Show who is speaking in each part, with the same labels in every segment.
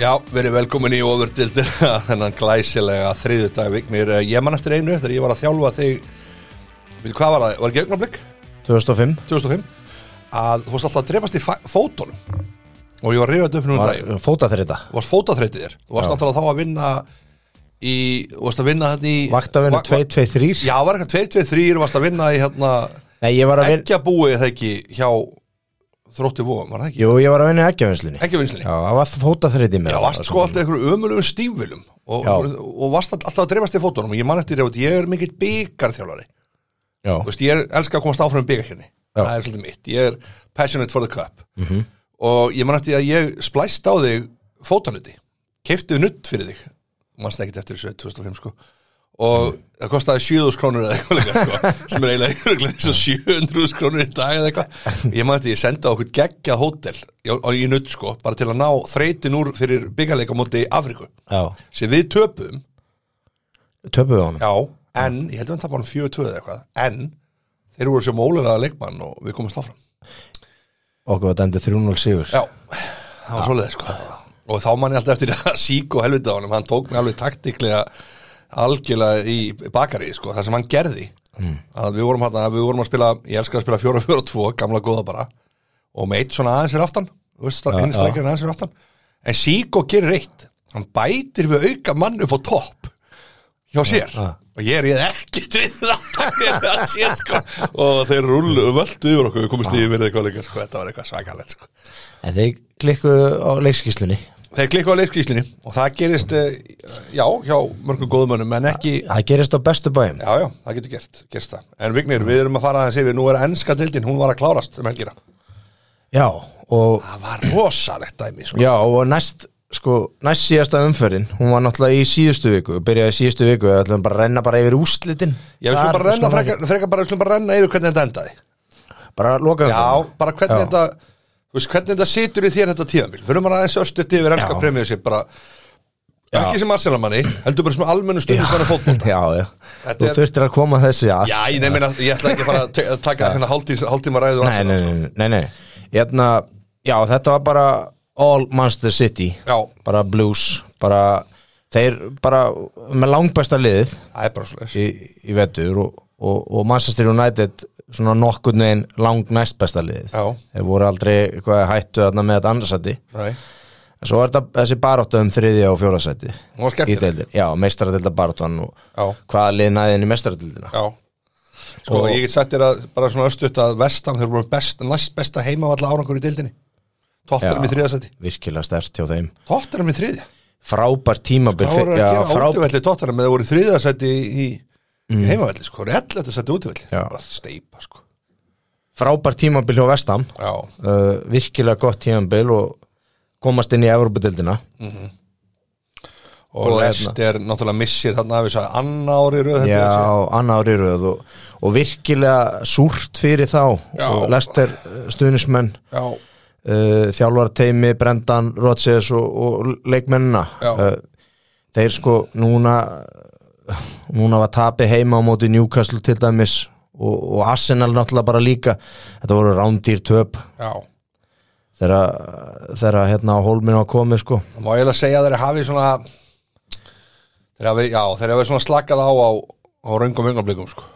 Speaker 1: Já, verið velkomin í ofurdildir þennan glæsilega þriðudag viknir eh, Ég man eftir einu þegar ég var að þjálfa þig Við hvað var það, var ekki augnablik
Speaker 2: 2005
Speaker 1: 2005 að þú varst alltaf að drefast í fa- fótunum og ég var reyfað upp núna um daginn
Speaker 2: var fóta fyrir þetta
Speaker 1: Þú varst fótaþreytið þér Þú varst
Speaker 2: Já.
Speaker 1: náttúrulega þá að vinna í Þú varst að vinna þarna í
Speaker 2: Vaktavinnu
Speaker 1: Va- va-
Speaker 2: 223
Speaker 1: Já, var eitthvað 2-2-3 Þú varst að vinna í hérna
Speaker 2: Nei, ég var að vinna
Speaker 1: Ekki að búið það ekki hjá Þrótti Vóum, var það ekki?
Speaker 2: Jú, ég var að vinna í ekkjavinnslunni Já,
Speaker 1: Ekki vinslinni
Speaker 2: það var fóta fyrir þetta
Speaker 1: Já, varst sko alltaf einhverju ömulugum stífvilum og,
Speaker 2: Já.
Speaker 1: og varst alltaf að dreifast í fótunum og ég man eftir að ég er mikill byggarþjálfari þú
Speaker 2: Já,
Speaker 1: veist, ég er, elska að komast áfram byggar hérni
Speaker 2: Já.
Speaker 1: það er svolítið mitt, ég er passionate for the cup -hmm. og ég man eftir að ég splæst á þig fótanuti keiftið nutt fyrir þig mannst ekkert eftir þessu 2005 sko og það kostaði 7000 krónur eða eitthvað líka, sko, sem er eiginlega örugglega eins og 700 krónur í dag eða eitthvað ég maður þetta, ég sendi á okkur geggja hótel í- í nutt sko, bara til að ná þreytin úr fyrir byggarleika móti Afriku
Speaker 2: já,
Speaker 1: sem við töpum
Speaker 2: töpuðu honum
Speaker 1: Já, en, ég held að um hann tapar hann 4-2 eða eitthvað, en þeir voru sem ólega leikmann og við komumst áfram
Speaker 2: Okkur var dæmdi 3-0 sigur
Speaker 1: Já, það var svoleiðið sko og þá manni alltaf eftir að sík og helvita á honum hann tók mig alveg taktiklega algjörlega í bakari sko, það sem hann gerði
Speaker 2: Mm.
Speaker 1: að við vorum, hana, við vorum að spila, ég elska að spila 4-4-2 gamla góða bara og með eitt svona aðeins fyrir aftan þú veist,
Speaker 2: Já,
Speaker 1: hinn
Speaker 2: já.
Speaker 1: slækir aðeins fyrir aftan en sík og gerir eitt hann bætir við auka mann upp á topp hjá sér
Speaker 2: já.
Speaker 1: og ég er ég ekki við það ég það séð, sko. og þeir rullu völdu yfir okkur við komumst yfir eitthvað líka sko. þetta var eitthvað svakalegt sko.
Speaker 2: En þeir klikkuðu á leikskíslunni
Speaker 1: Þeir klikku á leikskíslinni og það gerist, eh, já, hjá mörgum góðmönnum, en ekki,
Speaker 2: Það gerist á bestu bæjum
Speaker 1: já, já, það getur gert, gerst það. En Vignir, við erum að fara aðeins yfir, nú er ennska dildin, hún var að klárast um helgina.
Speaker 2: Já, og
Speaker 1: Það var rosalegt dæmi, sko.
Speaker 2: Já, og næst sko, næst síðasta umferðin hún var náttúrulega í síðustu viku byrjaði í síðustu viku, við ætlum bara að renna bara yfir úslitin
Speaker 1: Já, við
Speaker 2: Þar
Speaker 1: skulum bara renna,
Speaker 2: skulum
Speaker 1: freka, freka bara, við skulum bara renna yfir hvernig þetta endaði.
Speaker 2: ekki- bara loka
Speaker 1: Já, bara hvernig
Speaker 2: Já.
Speaker 1: þetta, þú veist, hvernig þetta situr í þér þetta tíðanbíl. Fyrir maður aðeins östuðt yfir ennska
Speaker 2: Já.
Speaker 1: premjöðsip, bara,
Speaker 2: Já.
Speaker 1: ekki sem Arsenalmanni, heldur bara sem almennu stundismanni fótbolta.
Speaker 2: já, já.
Speaker 1: Þetta
Speaker 2: þú
Speaker 1: er-
Speaker 2: þurftir að koma þessu að
Speaker 1: Já, ég nefnir að, ég ætla ekki að fara að te- að taka hérna hálftí- hálftíma ræðu um
Speaker 2: nei,
Speaker 1: Arsenal, sko.
Speaker 2: nei, nei, nei, nei. Hérna, já, þetta var bara all Manchester City
Speaker 1: Já,
Speaker 2: bara blues bara, þeir bara með langbæsta liðið
Speaker 1: það er bara svoleiðis.
Speaker 2: í, í vetur og, og, og Manchester United svona nokkurn veginn lang næstbæsta liðið
Speaker 1: Já.
Speaker 2: þeir voru aldrei eitthvað hættu þarna með þetta annarsæti
Speaker 1: Nei.
Speaker 2: en svo er þetta þessi baráttu um þriðja og fjórasæti
Speaker 1: Hún var skemmtileg.
Speaker 2: já, meistaradelda baráttan og
Speaker 1: Já.
Speaker 2: hvaða lið næði inn í meistaradeldina
Speaker 1: Já Sko,
Speaker 2: Og-
Speaker 1: ég get sagt þér að bara svona östuðt að vestam þeir voru best, næst besta heimavalla árangur í dildinni Tottenham
Speaker 2: Já.
Speaker 1: í þriðasæti
Speaker 2: virkilega stert hjá þeim
Speaker 1: Tottenham í þriði
Speaker 2: frábær
Speaker 1: Það
Speaker 2: tímabil
Speaker 1: voru að
Speaker 2: já,
Speaker 1: gera
Speaker 2: frá-
Speaker 1: útivelli Tottenham eða voru í þriðasæti í, í heimavalli sko, réttlega þetta sæti útivelli
Speaker 2: Mm. Já.
Speaker 1: bara steipa sko
Speaker 2: frábær tímabil hjá vestam
Speaker 1: Já,
Speaker 2: uh, virkilega gott tímabil og komast inn í Evropadeldina
Speaker 1: og, og
Speaker 2: Og hérna-
Speaker 1: Lester náttúrulega missir þarna að við sagði anna ári í röð þetta er þessi.
Speaker 2: Já, annað ári í röð og, og virkilega súrt fyrir þá
Speaker 1: Já.
Speaker 2: og Lester stuðnismenn
Speaker 1: Já,
Speaker 2: uh, þjálfarteimi, Brendan, Rodgers og, og leikmennina
Speaker 1: Já.
Speaker 2: uh, þeir sko núna núna var tapi heima á móti Newcastle til dæmis og, og Arsenal náttúrulega bara líka þetta voru rándýr töp
Speaker 1: já
Speaker 2: þegar þegar hérna á hólminu að komið sko
Speaker 1: Það má eiginlega segja að þeir hafi svona þeir hafi, já, þeir hafi svona slakað á á, á raungum yngablikum sko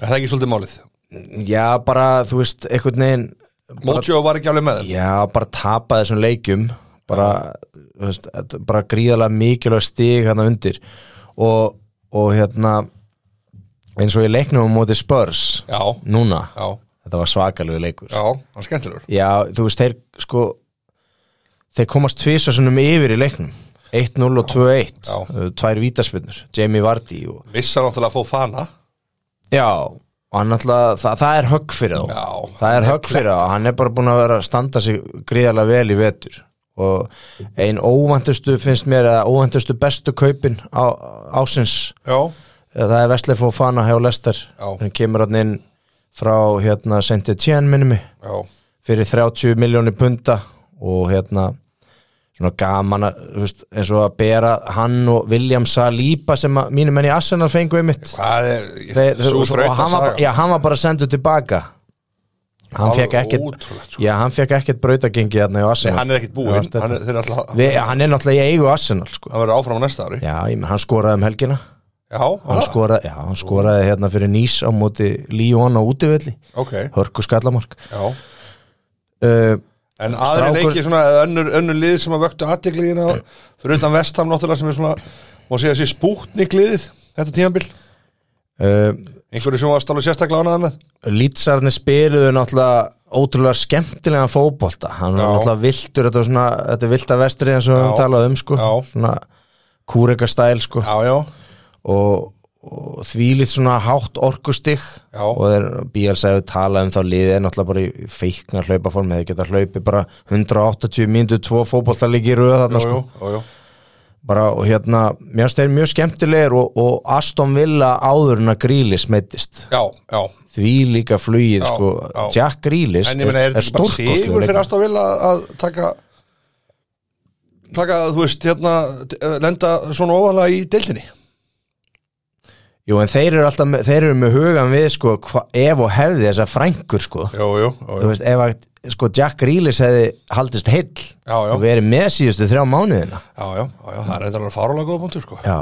Speaker 1: Er það ekki svolítið málið?
Speaker 2: Já, bara, þú veist, einhvern veginn
Speaker 1: Mojo var ekki alveg með þeim
Speaker 2: Já, bara tapa þessum leikjum bara, þú veist, þetta er bara gríðalega mikilvæg stig hérna undir og, og hérna eins og ég leiknum á móti Spurs
Speaker 1: Já,
Speaker 2: núna,
Speaker 1: já,
Speaker 2: þetta var svakalegu leikur
Speaker 1: já, það er skemmtilegur
Speaker 2: Já, þú veist, þeir sko þeir komast tvisasunum yfir í leiknum 1-0 og 2-1
Speaker 1: Já.
Speaker 2: uh, tvær vítaspinnur, Jamie Vardy og,
Speaker 1: Missa náttúrulega að fá fana
Speaker 2: Já, og hann alltaf það, það er högg fyrir þá
Speaker 1: Já,
Speaker 2: það er högg fyrir það, hann er bara búin að vera að standa sig gríðarlega vel í vetur og ein óvandustu finnst mér að óvandustu bestu kaupin á, ásins,
Speaker 1: Já,
Speaker 2: eða það er Vestlef og Fana hjá Lester,
Speaker 1: Já.
Speaker 2: hann kemur hann inn frá hérna sendið tjén minnum
Speaker 1: já,
Speaker 2: fyrir 30 miljónir punta og hérna svona gaman að, þú veist, eins og að bera hann og William Saliba sem að mínum enn í Arsenal fengu einmitt
Speaker 1: hvað er
Speaker 2: Þeir,
Speaker 1: Sú
Speaker 2: og, og
Speaker 1: þrauta
Speaker 2: hann, var,
Speaker 1: saga
Speaker 2: já, hann var bara sendur tilbaka hann fekk
Speaker 1: Alveg
Speaker 2: ekkert
Speaker 1: ótrúlegt, sko.
Speaker 2: já, hann fekk ekkert brautagengi hérna í
Speaker 1: Nei,
Speaker 2: Arsenal
Speaker 1: hann er ekkert búinn
Speaker 2: Já, þetta-
Speaker 1: Hann er, þeir eru alltaf-
Speaker 2: Við, hann er náttúrulega í eigu Arsenal sko.
Speaker 1: hann verður áfram á næsta ári Já,
Speaker 2: já, ég menn, hann skoraði um helgina hann, sko-
Speaker 1: hann
Speaker 2: skoraði, já, hann skoraði hérna fyrir Nís á móti Líón á útivelli
Speaker 1: Ok,
Speaker 2: hörku skallamark
Speaker 1: já
Speaker 2: uh,
Speaker 1: En aðri
Speaker 2: Strákur-
Speaker 1: leiki svona eða önnur, önnur lið sem að vöktu aðtegliðina fyrir utan vestam náttúrulega sem er svona má segja sér spútnik liðið þetta tímabil
Speaker 2: uh,
Speaker 1: einhverju sem var stálega sérstaklega ánað með
Speaker 2: Lítsarni spiluðu náttúrulega ótrúlega skemmtilegan fótbolta hann var
Speaker 1: Já.
Speaker 2: náttúrulega viltur, þetta var svona þetta er vilda vestri eins og við
Speaker 1: Já.
Speaker 2: höfum talað um sko.
Speaker 1: Já.
Speaker 2: svona kúreka stæl sko.
Speaker 1: Já, já,
Speaker 2: og, og þvílið svona hátt orkustig
Speaker 1: Já.
Speaker 2: og þeir BL sagði talað um þá liðið er náttúrulega bara í feikna hlaupaform eða geta hlaupið bara 180 mínútu tvo fótbolta líki í röð
Speaker 1: jú,
Speaker 2: þarna
Speaker 1: jú,
Speaker 2: sko.
Speaker 1: jú, jú.
Speaker 2: bara og hérna, mér finnst þeir mjög skemmtilegir og, og Aston Villa áður en að grílis meittist
Speaker 1: já, já
Speaker 2: því líka flugið
Speaker 1: Já,
Speaker 2: sko,
Speaker 1: já.
Speaker 2: Jack Grealish
Speaker 1: En ég meina, er þetta ekki bara sigur
Speaker 2: stórkostlegur
Speaker 1: fyrir
Speaker 2: leikmaður.
Speaker 1: Aston Villa að taka taka, þú veist, hérna eh, lenda svona ofalega í deildinni
Speaker 2: Jú, en þeir eru alltaf, með- þeir eru með hugan við sko, hva, ef og hefði þessa frængur sko,
Speaker 1: Jú, jú, jú,
Speaker 2: þú
Speaker 1: jú.
Speaker 2: veist, ef að sko, Jack Grealish hefði haldist heill
Speaker 1: Já, já.
Speaker 2: og verið með síðustu þrjá mánuðina
Speaker 1: Já, já, já, já, það er eitthvað fárulega góða punktur, sko
Speaker 2: já,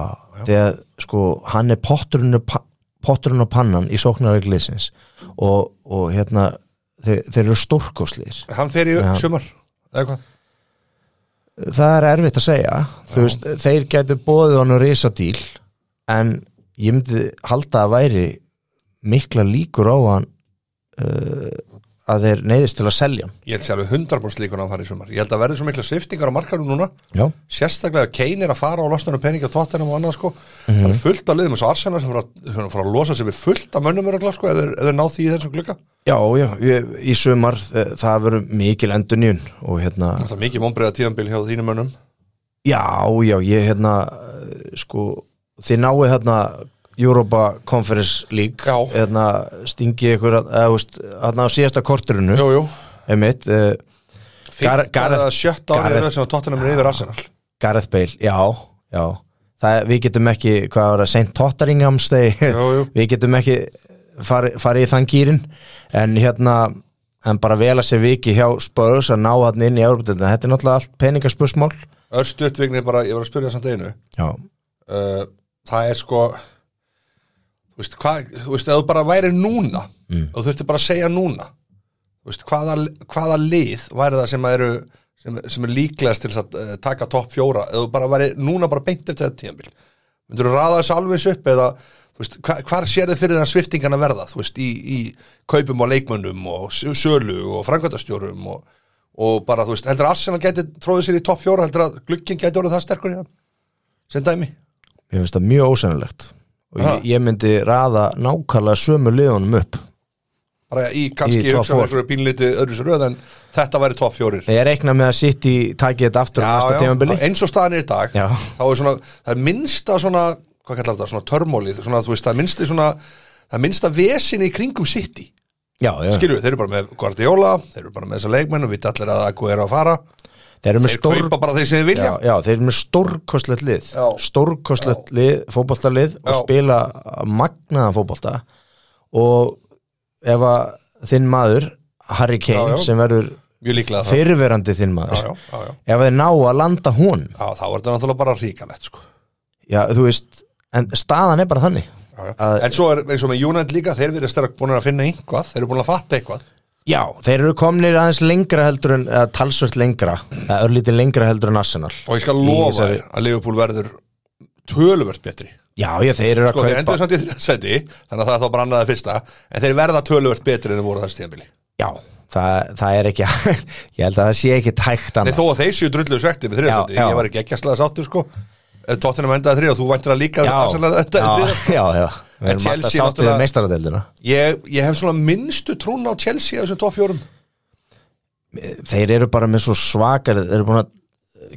Speaker 2: þegar sko, hann er potturinn og pa- potturinn og pannan í sóknarregliðsins og, og hérna þeir, þeir eru stórkoslir
Speaker 1: Hann fer í
Speaker 2: Já.
Speaker 1: sumar, eða hvað
Speaker 2: það er erfitt að segja þú veist, þeir gætu bóðið honum risadíl en ég myndi halda að væri mikla líkur á hann uh, að þeir neyðist til að selja hann
Speaker 1: Ég held sér alveg 100% líkur á að hann fari í sumar Ég held að verði svo mikla sviftingar á markanum núna
Speaker 2: já,
Speaker 1: sérstaklega Kane er að fara á losnunum peningi á tóttinum og annað sko það er fullt af liðum eins og Arsenal sem fara, sem fara að losa sig við fullt af mönnum öruglega sko eða, eða ná því í þessum glugga
Speaker 2: já, já ég, í sumar eh, það verður mikil endurnýjun og hérna,
Speaker 1: það er mikið vonbreiða tíðanbíl hjá þínum mönnum
Speaker 2: já, já ég hérna, eh, sko þið náið hérna Europa Conference League
Speaker 1: Já.
Speaker 2: hérna stingi ykkur að- eða, þú veist, hérna á síðasta korturinu
Speaker 1: jú, jú,
Speaker 2: einmitt, uh, Gar-
Speaker 1: Fimmta
Speaker 2: Gareth-
Speaker 1: eða sjötta árið
Speaker 2: Gareth-
Speaker 1: er sem að tóttinum er yfir Arsenal
Speaker 2: Gareth Bale, já, já það, er- við getum ekki, hvað var það, St. Totteringham's Day,
Speaker 1: Jú, jú.
Speaker 2: við getum ekki farið fari í þann gýrin en hérna, en bara vel að sér viki hjá Spurs að ná hann inn í Európa-deltina, þetta er náttúrulega allt peningaspursmál
Speaker 1: Örstuðt vignir bara, ég var að spyrja samt einu
Speaker 2: Já,
Speaker 1: uh, það er sko þú veist, hvað, þú veist, ef þú bara væri núna mm. og þurfti bara að segja núna þú veist, hvaða, hvaða lið væri það sem að eru sem, sem er líklegast til þess að uh, taka topp fjóra ef þú bara væri núna bara beint eftir þetta tíðanbíl myndur þú raða þessu alveg eins upp eða þú veist, hva, hvar sér þið fyrir það sviftingan að verða þú veist, í, í kaupum á leikmönnum og s- sölu og frangvæntastjórum og, og bara, þú veist, heldur að Arsenal gæti tróðið sér í topp fjóra, heldur að glukkin gæti orðið það sterkur í það, sem dæmi
Speaker 2: ég finnst það mjög ósennilegt og
Speaker 1: Ha.
Speaker 2: ég, ég myndi raða nákvæmlega sömu liðunum upp
Speaker 1: bara í kannski
Speaker 2: Í topp
Speaker 1: hugsaðum
Speaker 2: four.
Speaker 1: einhverju pínliti öðru sér röð en þetta væri topp fjórir
Speaker 2: Ég reikna með að sitt í takið þetta aftur á næsta tímabili
Speaker 1: eins og staðan er í dag
Speaker 2: Já.
Speaker 1: þá er svona, það er minnsta svona hvað kallar þetta, svona törmólið svona, þú veist, það er minnsta svona það er minnsta vesin í kringum City
Speaker 2: Já, já,
Speaker 1: skilju, þeir eru bara með Guardiola þeir eru bara með þessa leikmenn og við allir að Agu er að fara
Speaker 2: þeir eru með
Speaker 1: þeir
Speaker 2: stór
Speaker 1: kaupa bara þeir sem þeir vilja
Speaker 2: já, já, þeir eru með stórkostlegt lið
Speaker 1: Já.
Speaker 2: stórkostlegt lið, fótboltalið og
Speaker 1: Já.
Speaker 2: spila magnaðan fótbolta og ef að þinn maður Harry Kane
Speaker 1: Já, já.
Speaker 2: sem verður
Speaker 1: mjög líklega það
Speaker 2: fyrirverandi þinn maður
Speaker 1: já, já, já.
Speaker 2: ef að þeir ná að landa hún
Speaker 1: Já, þá er þetta náttúrulega bara ríkalett sko.
Speaker 2: já, þú veist, en staðan er bara þannig
Speaker 1: Já, já.
Speaker 2: Að-
Speaker 1: en svo er eins og með United líka þeir verðast þeirra búin að finna einhvað þeir eru búin að fatta eitthvað
Speaker 2: já, þeir eru komnir aðeins lengra heldur en eða talsvört lengra, eða örlítið lengra heldur en Arsenal
Speaker 1: og ég skal
Speaker 2: Í
Speaker 1: lofa
Speaker 2: þessari-
Speaker 1: þér að Liverpool verður töluvert betri
Speaker 2: já, já, þeir eru að
Speaker 1: sko þeir
Speaker 2: kaupa
Speaker 1: endur samt í þrjarsæti þannig að það er þá bara annaða fyrsta en þeir verða töluvert betri en þeir voru á þessu tíðanbili
Speaker 2: já, það, það er ekki ég held að það sé ekki tækt
Speaker 1: Nei,
Speaker 2: annað
Speaker 1: þó að þeir séu drullu svekti með þrjarsæti
Speaker 2: Já, já.
Speaker 1: ég var ekki ekki að slaða sáttur sko Tottenham endaði þrjá, þú væntir að líka
Speaker 2: já,
Speaker 1: Arsenal endaði
Speaker 2: já,
Speaker 1: þriðja.
Speaker 2: já, já Við
Speaker 1: En
Speaker 2: erum
Speaker 1: Chelsea
Speaker 2: alltaf sáttið
Speaker 1: náttúrulega-
Speaker 2: við meistaradeldina
Speaker 1: ég, ég hef svona minnstu trún á Chelsea af þessum toppjórum
Speaker 2: Þeir eru bara með svo svakar Þeir eru búin að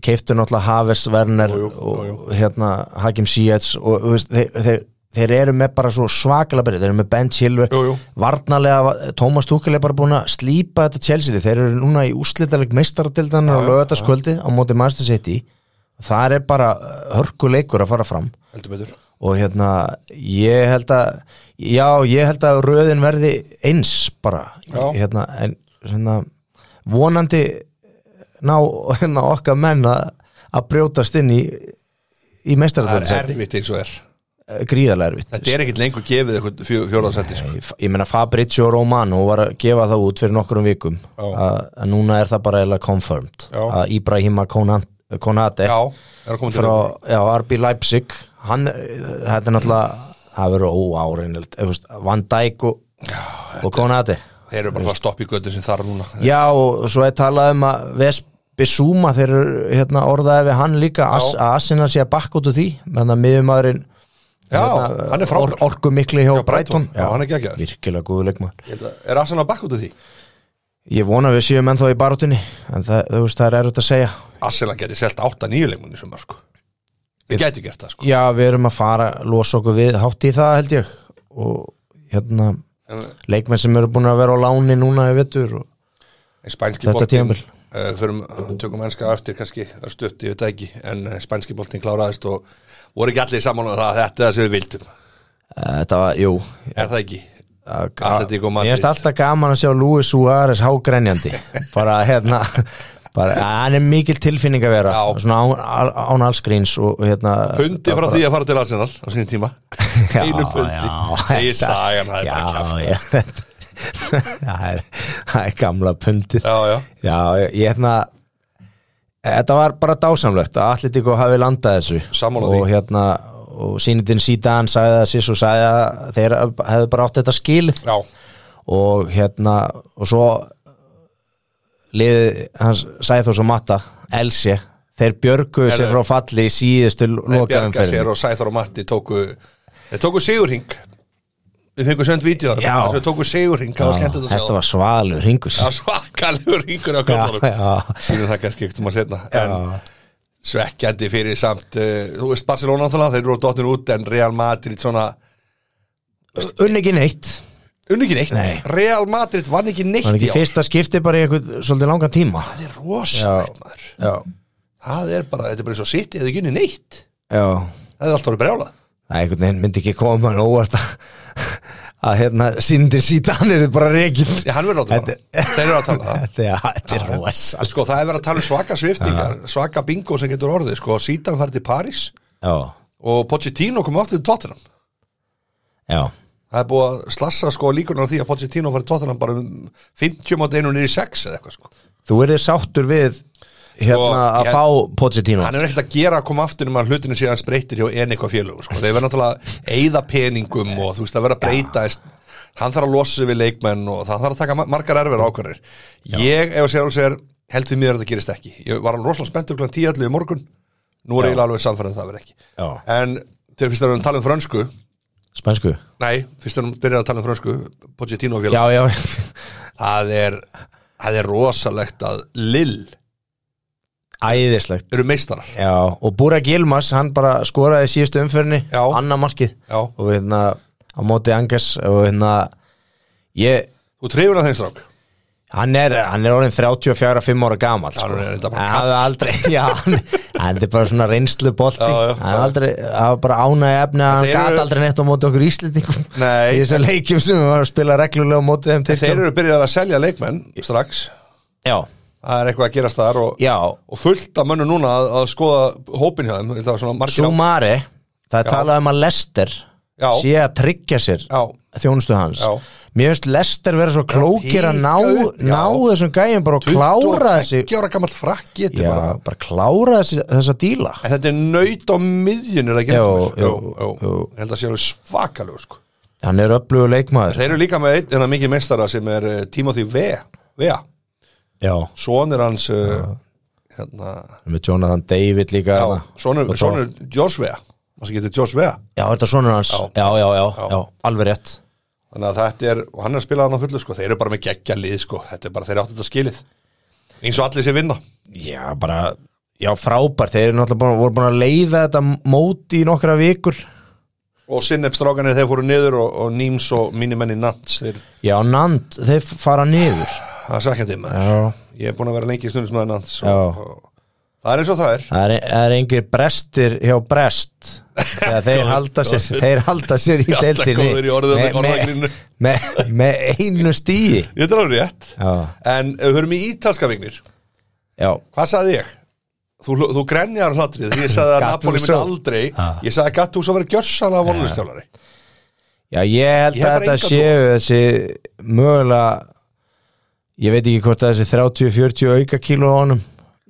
Speaker 2: keiftu náttúrulega Haves, Werner
Speaker 1: Jú, jú,
Speaker 2: og
Speaker 1: jú,
Speaker 2: hérna Hakim Ziyech og þú veist, þeir, þeir, þeir eru með bara svo svakalega byrja Þeir eru með Ben Chilwell
Speaker 1: Jú, jú.
Speaker 2: Varnalega, Thomas Tuchel er bara búin að slípa þetta Chelsea Þeir eru núna í úslitaleg meistaradeldana og lögataskvöldi á móti Master City Það er bara hörkuleikur að fara fram
Speaker 1: heldur betur
Speaker 2: og hérna ég held að já, ég held að röðin verði eins bara
Speaker 1: Já.
Speaker 2: hérna, en svona, vonandi ná hérna, okkar menn að að brjótast inn í í
Speaker 1: það er
Speaker 2: meistarðarðarsæti
Speaker 1: erfitt eins og er
Speaker 2: gríðarlega erfitt
Speaker 1: þetta er ekkit lengur gefið eitthvað fjó, fjóraðsætti sko.
Speaker 2: Ég, ég meina Fabrizio Romano var að gefa það út fyrir nokkrum vikum
Speaker 1: Já.
Speaker 2: að að núna er það bara eiginlega confirmed
Speaker 1: Já.
Speaker 2: að Ibrahima Konan- Konate
Speaker 1: já, það er að koma til
Speaker 2: frá já, RB Leipzig hann, eh, þetta er náttúrulega það verður óáreinilegt eh, þú veist, Van Dijk og, og Konati
Speaker 1: þeir eru bara að stoppa í götu sem þar núna
Speaker 2: já og svo er talað um að Vespisuma þeir eru hérna, orðaði við hann líka as,
Speaker 1: Já.
Speaker 2: að Assina sé að bakka út úr því meðan að miðumadurinn
Speaker 1: já, hann er frá
Speaker 2: or, orku mikli hjá
Speaker 1: Já, Brighton.
Speaker 2: Brighton
Speaker 1: Já, hann er geggjaður.
Speaker 2: virkilega góðu leikmann
Speaker 1: Ég held að- er Arsenal að bakk út af því?
Speaker 2: ég vona að við séum ennþá í barátunni en það, þú veist, það er erut að segja
Speaker 1: Arsenal geti selt 8-9 leikmunni sem sko. þeir geti gert það sko.
Speaker 2: já við erum að fara losa okkur við hátt í það held ég og hérna
Speaker 1: en,
Speaker 2: leikmenn sem eru búin að vera á láni núna í vetur og
Speaker 1: en spænski
Speaker 2: Þetta
Speaker 1: boltinn
Speaker 2: tímabil.
Speaker 1: uh, förum, tökum ennska eftir kannski örstutt, ég veit það ekki en eh, spænski boltinn kláraðist og voru ekki allir saman um það að þetta er það sem við vildum
Speaker 2: Eh, Þetta var, jú
Speaker 1: er það ekki? Atletico
Speaker 2: Mér
Speaker 1: Madrid.
Speaker 2: finnst alltaf gaman að sjá Luis Suárez hágrænjandi bara hérna bara, hann er mikil tilfinning að vera
Speaker 1: Já.
Speaker 2: svona án, al- án allsgríns og og hérna
Speaker 1: Pundi frá því að fara til Arsenal á sínum tíma
Speaker 2: Já,
Speaker 1: einu pundi,
Speaker 2: já,
Speaker 1: segir
Speaker 2: þetta-
Speaker 1: sagan það er bara
Speaker 2: Já,
Speaker 1: kæft
Speaker 2: já þetta- það er, það er gamla pundið
Speaker 1: já, já,
Speaker 2: Já, ég ég hérna Þetta var bara dásamlegt að Atletico hafi landað þessu
Speaker 1: Sammála
Speaker 2: og
Speaker 1: því.
Speaker 2: hérna og sínitinn síðan sagði að sér svo sagði að þeir hefðu bara átt þetta skilið
Speaker 1: já,
Speaker 2: og hérna og svo liðið hans sagði þó svo matta Elsie, þeir björguðu
Speaker 1: Herðu.
Speaker 2: sér frá falli í síðustu lokaðum
Speaker 1: Bjarga sér og Sæþór og Matti tóku þeir tóku sigurhing við fengum sönd vídeo
Speaker 2: Já.
Speaker 1: þeir tóku sigurhing, það var skemmt að
Speaker 2: Þetta
Speaker 1: sjá
Speaker 2: var svalur ringus
Speaker 1: það var svakalegur ringur á kallunum
Speaker 2: já,
Speaker 1: sínum það kannski ekkert um að setna en
Speaker 2: já.
Speaker 1: svekkjandi fyrir samt uh, þú veist Barcelona náttúrulega, þeir eru dottir út en Real Madrid svona
Speaker 2: Unn ekki neitt
Speaker 1: unni ekki neitt,
Speaker 2: Nei.
Speaker 1: Real Madrid vann ekki neitt
Speaker 2: Það
Speaker 1: í
Speaker 2: er ekki
Speaker 1: ár.
Speaker 2: fyrsta skipti bara í eitthvað svolítið langan tíma
Speaker 1: það er rosalegt maður
Speaker 2: Já,
Speaker 1: það er bara, þetta er bara svo sitt eða ekki unni neitt
Speaker 2: já
Speaker 1: það er alltaf orðið brjálað
Speaker 2: Það einhvern veginn myndi ekki koma en óvart að, að hérna síndir síðan er þetta bara rekin
Speaker 1: Já, hann verður að tala, þeir eru að tala það
Speaker 2: Þetta er- þetta er rosa
Speaker 1: sko það er verið að tala um svaka sviftingar svaka bingo sem getur orðið, sko sítan fær til París
Speaker 2: Já,
Speaker 1: og Pochettino kom aftur til Tottenham
Speaker 2: já,
Speaker 1: það er búið að slassa sko líkunar á því að Pochettino fær til Tottenham bara um 50 mátt einu niður í 6 eða eitthvað sko
Speaker 2: þú erðið sáttur við
Speaker 1: Sko,
Speaker 2: hérna að
Speaker 1: ég-
Speaker 2: fá Pochettino
Speaker 1: hann er ekkert að gera að koma aftur um að hlutinu síðan spreytir hjá en eitthvað félögum sko. þeir verða náttúrulega að eyða peningum og þú veist að vera að breyta ja. hann þarf að losa sig við leikmenn og það þarf að taka ma- margar erfir ákvarðir ég, ef að sér alveg sér, held því mér að þetta gerist ekki ég var alveg rosalega spenntur klant 10 allir í morgun nú er
Speaker 2: Já.
Speaker 1: ég alveg samfærið að það verð ekki
Speaker 2: Já.
Speaker 1: en til fyrst að við erum að tala um frönsku
Speaker 2: Spænsku
Speaker 1: nei, fyrst að við byrjar að tala um frönsku Pochettino
Speaker 2: Já,
Speaker 1: félag,
Speaker 2: já,
Speaker 1: það er það er rosalegt að Lill
Speaker 2: æðislegt
Speaker 1: eru meistarar
Speaker 2: Já, og Burak Yilmaz, hann bara skoraði í síðustu umfyrinni,
Speaker 1: Já.
Speaker 2: annað markið
Speaker 1: já,
Speaker 2: og hérna á móti Angers og hérna ég
Speaker 1: þú trefur að þeim strák
Speaker 2: Hann er, hann er orðin 34-5 ára gamall sko.
Speaker 1: Já, hann er reyndar bara
Speaker 2: hann er aldrei já, hann, hann er bara svona reynslu bolti
Speaker 1: Já, já,
Speaker 2: hann er aldrei, hann var bara ánægja efni hann
Speaker 1: Þeir
Speaker 2: gat
Speaker 1: eru-
Speaker 2: aldrei neitt á móti okkur íslendingum í
Speaker 1: nei,
Speaker 2: þessum leikjum sem við varum að spila reglulega á móti þeim
Speaker 1: Þeir eru byrjað að selja leikmenn strax
Speaker 2: já,
Speaker 1: Það er eitthvað að gerast þar og,
Speaker 2: já,
Speaker 1: og fullt af mönnu núna að, að skoða hópin hjá þeim Það var svona margir á
Speaker 2: Sumari það er
Speaker 1: Já.
Speaker 2: talað um að Lester
Speaker 1: Já.
Speaker 2: sé að tryggja sér
Speaker 1: Já,
Speaker 2: þjónustu hans
Speaker 1: Já.
Speaker 2: mér finnst Lester vera svo klókir að
Speaker 1: píka
Speaker 2: ná,
Speaker 1: upp, já.
Speaker 2: ná þessum gæjum bara að klára þessi
Speaker 1: 22 ára gammal frakki þetta er
Speaker 2: já,
Speaker 1: bara
Speaker 2: bara klára þessi, þessa díla
Speaker 1: En þetta er nöyt á miðjun er það ekki
Speaker 2: Jú,
Speaker 1: rétt hjá mér?
Speaker 2: jú,
Speaker 1: jú, jú.
Speaker 2: jú.
Speaker 1: Ég held að sé alveg svakalega sko.
Speaker 2: hann er öflugur leikmaður
Speaker 1: Þeir eru líka með einn en að mikið mestara sem er uh, Timothy Vea, Vea.
Speaker 2: já,
Speaker 1: Sonur hans uh, hérna,
Speaker 2: með Jonathan David líka
Speaker 1: já,
Speaker 2: já,
Speaker 1: sonur,
Speaker 2: Og þá-
Speaker 1: sonur George Vea Það sem getur George Vea
Speaker 2: já þetta er sonur hans já,
Speaker 1: Já.
Speaker 2: já, já, já,
Speaker 1: Já.
Speaker 2: alveg rétt
Speaker 1: þannig að þetta er, og hann er að spila hann á fullu sko, þeir eru bara með geggja lið sko, þetta er bara þeir áttu þetta skilið eins og allir sem vinna
Speaker 2: já, bara, já, frábær þeir eru náttúrulega búin, voru búin að leiða þetta móti í nokkra vikur
Speaker 1: og sinnefstrákanir þeir fóru niður og, og Níms og mínimenni Nats þeir,
Speaker 2: já, Nand, þeir fara niður
Speaker 1: það er svekkjandi maður
Speaker 2: já,
Speaker 1: ég er búin að vera lengi í stundum með Nats
Speaker 2: Já.
Speaker 1: og, og, það er eins og það er
Speaker 2: Það er, það er engir brestir hjá brest þegar þeir, halda sér, þeir halda sér í
Speaker 1: Ég er alltaf
Speaker 2: deildinni
Speaker 1: góður í orðum-
Speaker 2: með-
Speaker 1: orðagríninu.
Speaker 2: með, með, með einu stíi
Speaker 1: Ég er alveg rétt
Speaker 2: Já,
Speaker 1: En ef við höfum í ítalska vignir
Speaker 2: já,
Speaker 1: Hvað saði ég? Þú, þú grenjar á hlatrið Því ég saði að
Speaker 2: Gattuso.
Speaker 1: Napoli myndi aldrei
Speaker 3: Ah.
Speaker 1: Ég saði að Gattuso verið gjössalega vonlustjálari
Speaker 2: já, ég
Speaker 1: Ég
Speaker 2: held
Speaker 1: hef
Speaker 2: að
Speaker 1: bara
Speaker 2: þetta
Speaker 1: enga
Speaker 2: séu þessi mögulega ég veit ekki hvort að þessi 30-40 auka kíló á honum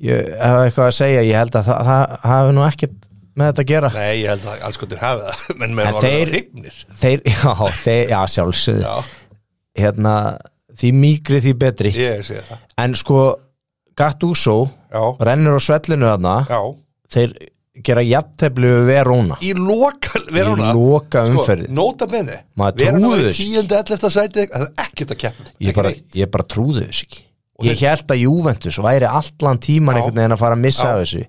Speaker 2: ég hef eitthvað að segja, ég held að það, það hafi nú ekkert með þetta að gera
Speaker 1: Nei, ég held að alls gott er hafið það Menn með
Speaker 2: En
Speaker 1: að vera
Speaker 2: þeir-
Speaker 1: þignir
Speaker 2: þeir, já, þeir, já, sjálfsögðu
Speaker 1: Já,
Speaker 2: hérna, því mýkri því betri
Speaker 1: ég sé það
Speaker 2: en sko, Gattuso
Speaker 1: Já,
Speaker 2: rennur á svellinu þarna
Speaker 1: já
Speaker 2: þeir gera jafnteflu við Verona
Speaker 1: Í loka,
Speaker 2: í
Speaker 1: Verona sko,
Speaker 2: loka umferði
Speaker 1: Nota benni
Speaker 2: Maður trúði
Speaker 1: var í
Speaker 2: þessu.
Speaker 1: tíundi ellefta sæti Það er ekkert að keppa
Speaker 2: ég,
Speaker 1: Ekki
Speaker 2: bara,
Speaker 1: neitt.
Speaker 2: ég bara trúði þessu ekki
Speaker 1: Og
Speaker 2: ég held að Juventus væri allan tíman
Speaker 1: Já.
Speaker 2: einhvern veginn að fara að missa
Speaker 1: Já.
Speaker 2: af þessu